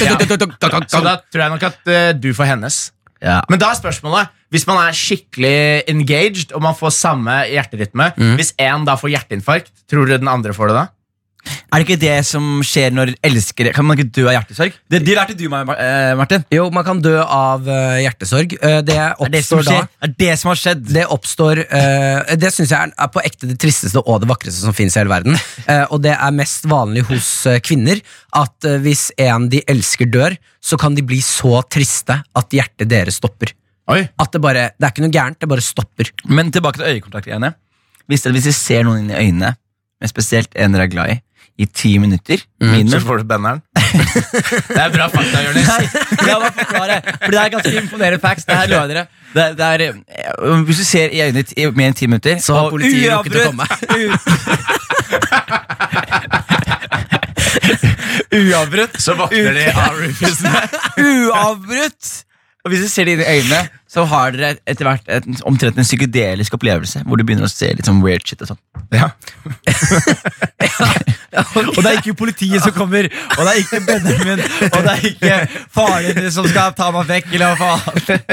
S3: Så da tror jeg nok at eh, du får hennes.
S4: Ja.
S3: Men da er spørsmålet Hvis man er skikkelig engaged og man får samme hjerterytme Hvis én da får hjerteinfarkt, tror dere den andre får det da?
S4: Er det ikke det som skjer når elskere Kan man ikke dø av hjertesorg? Det, det lærte du meg, Mar- eh, Martin.
S2: Jo, man kan dø av eh, hjertesorg. Eh, det
S4: Det er det som
S2: oppstår da
S4: skjer. Det er det som har skjedd.
S2: Det oppstår eh, Det syns jeg er, er på ekte det tristeste og det vakreste som fins i hele verden. Eh, og det er mest vanlig hos eh, kvinner at eh, hvis en de elsker, dør, så kan de bli så triste at hjertet deres stopper.
S3: Oi
S2: At det bare Det er ikke noe gærent, det bare stopper.
S4: Men tilbake til øyekontakt igjen. ja. Hvis, hvis jeg ser noen inn i øynene, men spesielt en dere er glad i, i ti minutter
S3: Så
S4: minimum
S3: får du benderen. det er bra fakta, Jonis.
S4: Nei, la meg forklare. For det er ganske imponerende facts. Det her lover jeg dere. Det, det er, eh, hvis du ser i øynene ditt i mer enn ti minutter
S2: Så har
S4: og
S2: politiet rukket å komme.
S4: u- Uavbrutt.
S3: Så våkner de av rufusene.
S4: Uavbrutt! Og hvis du ser det inn i øynene, så har dere etter hvert et, omtrent en psykedelisk opplevelse. Hvor du begynner å se litt sånn weird shit og sånn. Og det er ikke politiet som kommer, og det er ikke Benjamin, og det er ikke faren din som skal ta meg vekk, eller hva faen.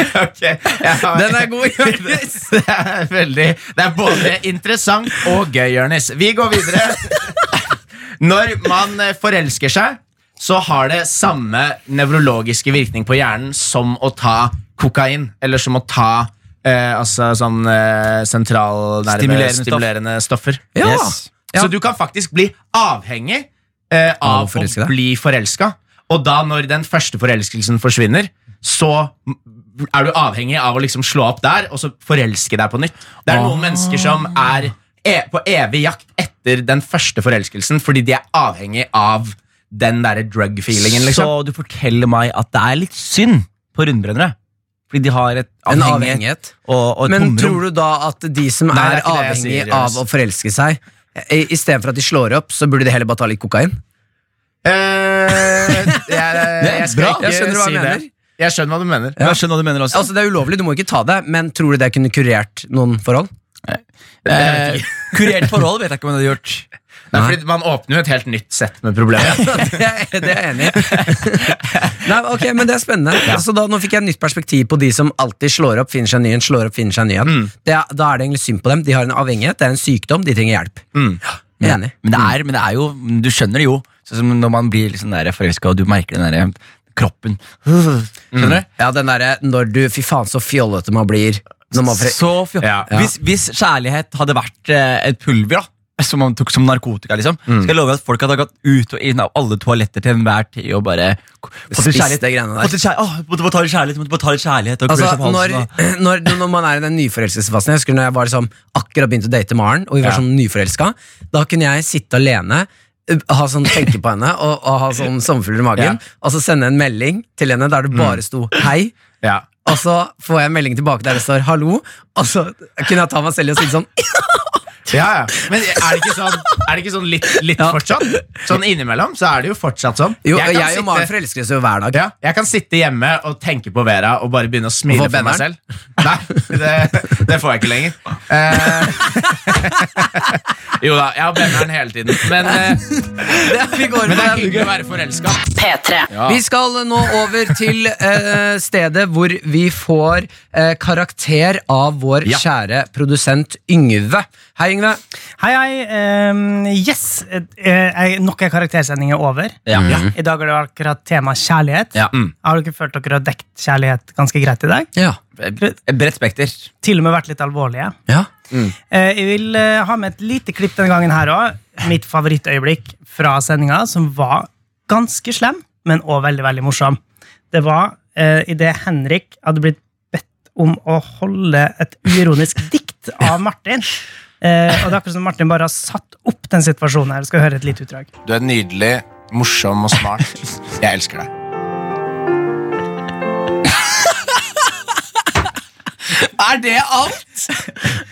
S3: Okay. Ja.
S2: Den er god, Jonis!
S3: det er veldig Det er både interessant og gøy, Jonis. Vi går videre. Når man eh, forelsker seg, så har det samme nevrologiske virkning på hjernen som å ta kokain, eller som å ta eh, altså sånn eh, sentralnerve
S4: Stimulerende stoff.
S3: stimulerende stoffer.
S2: Ja.
S4: Yes.
S2: Ja.
S3: Så du kan faktisk bli avhengig eh,
S2: Av å
S3: av,
S2: forelske
S3: å
S2: deg.
S3: bli forelska. Og da når den første forelskelsen forsvinner, så m- er du avhengig av å liksom slå opp der og så forelske deg på nytt. Det er
S2: Ah.
S3: noen mennesker som er e på evig jakt etter den første forelskelsen fordi de er avhengig av den derre drug-feelingen. liksom.
S4: Så du forteller meg at det er litt synd på rundbrennere. Fordi de har et
S2: En
S4: avhengighet
S2: avhengighet.
S4: og, og et
S2: Men
S4: tomrom.
S2: tror du da at de som
S3: Nei, det
S2: er,
S3: er ikke det jeg
S2: avhengig
S3: sier, Jonas.
S2: av å forelske seg, eh, i stedet for at de slår opp, så burde de heller bare ta litt kokain?
S3: Eh, jeg, jeg, jeg skal
S4: Bra.
S3: ikke
S2: Jeg skjønner hva jeg
S3: si det.
S2: mener.
S3: Jeg skjønner hva du mener.
S4: Jeg skjønner hva du mener også.
S2: Altså Det er ulovlig, du må ikke ta det, men tror du det kunne kurert noen forhold?
S4: eh, kurert forhold vet jeg ikke om hun hadde gjort.
S3: Nei, fordi Man åpner jo et helt nytt sett med problemer.
S2: det er det er jeg enig i. Nei, ok, men Det er spennende. Altså, da, nå fikk jeg et nytt perspektiv på de som alltid slår opp, finner seg en ny en. slår opp, finner seg en ny en.
S3: Mm.
S2: Det er- Da er det egentlig synd på dem. De har en avhengighet, det er en sykdom, de trenger hjelp.
S3: Mm.
S2: Jeg er enig.
S4: Men det er, men det er jo, du skjønner det jo. Sånn som når man blir litt sånn der forelska, og du merker den der eh, kroppen. Skjønner du?
S2: Ja, den derre når du Fy faen, så fjollete man blir. Når man fre
S4: Så fjo-
S3: Ja.
S4: Hvis, hvis kjærlighet hadde vært eh, et pulver, da som man tok som narkotika, liksom skal jeg love at folk hadde gått ut og inn av alle toaletter til enhver tid og bare k- fått litt
S2: Spist
S4: kjærlighet.
S2: det greiene der.
S4: Fått litt kjærlighet. Åh, måtte bare ta litt kjærlighet, måtte bare ta litt kjærlighet og
S2: Altså,
S4: klø seg på halsen,
S2: når, når, når man er i den nyforelskelsesfasen Jeg husker når jeg var liksom, akkurat begynt å date Maren, og vi var
S3: Ja.
S2: sånn nyforelska. Da kunne jeg sitte alene, ø, ha sånn tenke på henne og, og ha sånn sommerfugler i magen, og så sende en melding til henne
S3: Mm.
S2: der det bare sto 'hei'.
S3: Ja.
S2: Og så får jeg en melding tilbake der det står 'hallo', og så kunne jeg ta meg selv i å si sånn
S3: Ja, ja. Men er det ikke sånn, er det ikke sånn litt, litt
S2: Ja.
S3: fortsatt? Sånn innimellom så er det jo fortsatt sånn.
S2: Jo,
S3: kan
S2: jeg, og Maren
S3: sitte-
S2: forelskes jo hver dag.
S3: ja, jeg kan sitte hjemme og tenke på Vera og bare begynne å smile
S2: Og få
S3: for meg
S2: benneren.
S3: selv. Nei, det, det får jeg ikke lenger. Eh, jo da, jeg har benneren hele tiden. Men, eh,
S2: Vi, går
S3: men det er
S2: med den.
S3: hyggelig å være forelska.
S5: P3.
S2: vi skal nå over til eh, stedet hvor vi får eh, karakter av vår
S3: Ja.
S2: kjære produsent Yngve. Hei, Yngve.
S7: Hei, hei. ehm, yes, eh, eh, nok en karaktersending er over.
S4: da. Ja.
S7: I dag er det akkurat tema kjærlighet.
S4: Mhm. Ja. Mm.
S7: Har dere følt dere har dekt kjærlighet ganske greit i dag?
S2: Ja.
S4: Et bredt spekter.
S7: Til og med vært litt alvorlige.
S2: Ja.
S7: Eh, jeg vil eh, ha med et lite klipp denne gangen her òg. Mitt favorittøyeblikk fra sendinga, som var ganske slem, men òg veldig veldig morsom. Det var eh, idet Henrik hadde blitt bedt om å holde et uironisk dikt av Martin. Eh, og det er akkurat som Martin bare har satt opp den situasjonen her. Du skal høre et lite utdrag.
S3: Du er nydelig, morsom og smart. Jeg elsker deg.
S4: Er det alt?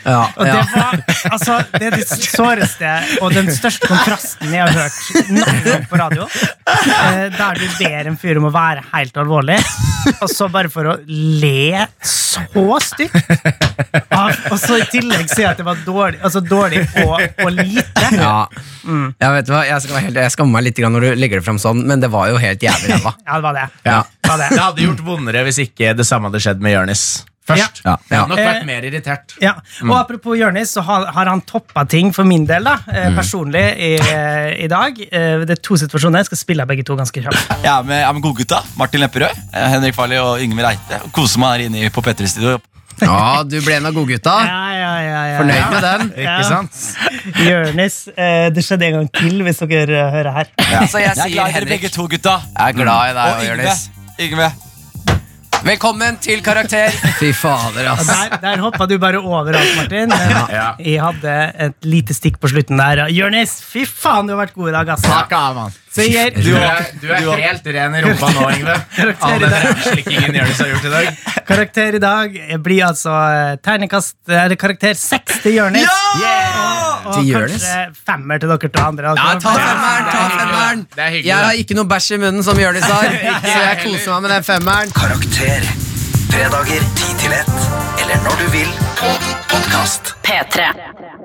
S2: Ja,
S7: Og det var altså, det, er det såreste og den største kontrasten jeg har hørt noen gang på radio. Eh, Der du ber en fyr om å være helt alvorlig, og så bare for å le så stygt. av- Og så i tillegg si at det var dårlig, altså dårlig og, og lite.
S2: Ja. Jeg vet du hva, jeg, skal være helt, jeg skammer meg litt grann når du legger det fram sånn, men det var jo helt jævlig ræva.
S7: Ja, det var det.
S2: Ja.
S7: Det var det.
S3: Det hadde gjort vondere hvis ikke det samme hadde skjedd med Jonis først.
S4: Ja.
S3: Jeg hadde nok
S7: Eh,
S3: vært mer irritert.
S7: Ja, og
S2: Mm.
S7: Apropos Jonis, så har, har han toppa ting for min del da,
S2: Mm.
S7: eh, personlig i, i dag. Eh, Det er to situasjoner. Jeg skal spille begge to ganske kjapt.
S4: Jeg er med, jeg er med godgutta. Martin Lepperød, eh, Henrik Farley og Yngve Reite. Og koser meg her inne i- på P3-studio.
S2: Ja, du ble en av godgutta.
S7: Ja, ja, ja, ja.
S2: Fornøyd med den.
S7: Ja.
S3: Ikke sant?
S7: Jonis, eh, det skjedde en gang til, hvis dere eh, hører her.
S2: Så jeg
S4: Jeg er glad
S2: sier
S4: i dere
S2: Henrik.
S4: begge to, gutta.
S2: Jeg er glad i
S4: Og
S2: deg,
S4: Yngve.
S2: Jonis.
S4: Yngve.
S2: Velkommen til Karakter. Fy fader, ass.
S7: Der, der hoppa du bare over alt, Martin. Eh,
S3: Ja.
S7: Jeg hadde et lite stikk på slutten der. Jonis, fy faen, du har vært god i dag, altså. ass.
S4: av, mann.
S7: Så jeg
S3: Du
S7: gir
S3: er, du er helt ren i rumpa nå, Yngve. All den rævslikkingen Jonis har gjort i dag.
S7: karakter i dag. Jeg blir altså eh, ternekast, eller karakter seks til Jonis. Og, og
S2: Til Jonis?
S7: kanskje femmer til dere to andre. altså.
S2: Ja, ta femmeren, ta
S3: Det er hyggelig,
S2: femmeren.
S3: det er hyggelig,
S2: Jeg har
S3: det.
S2: ikke noe bæsj i munnen, som Jonis har, så jeg koser meg med den femmeren.
S1: Karakter. Fredager 10 til 1, eller når du vil, på podkast.
S5: P3.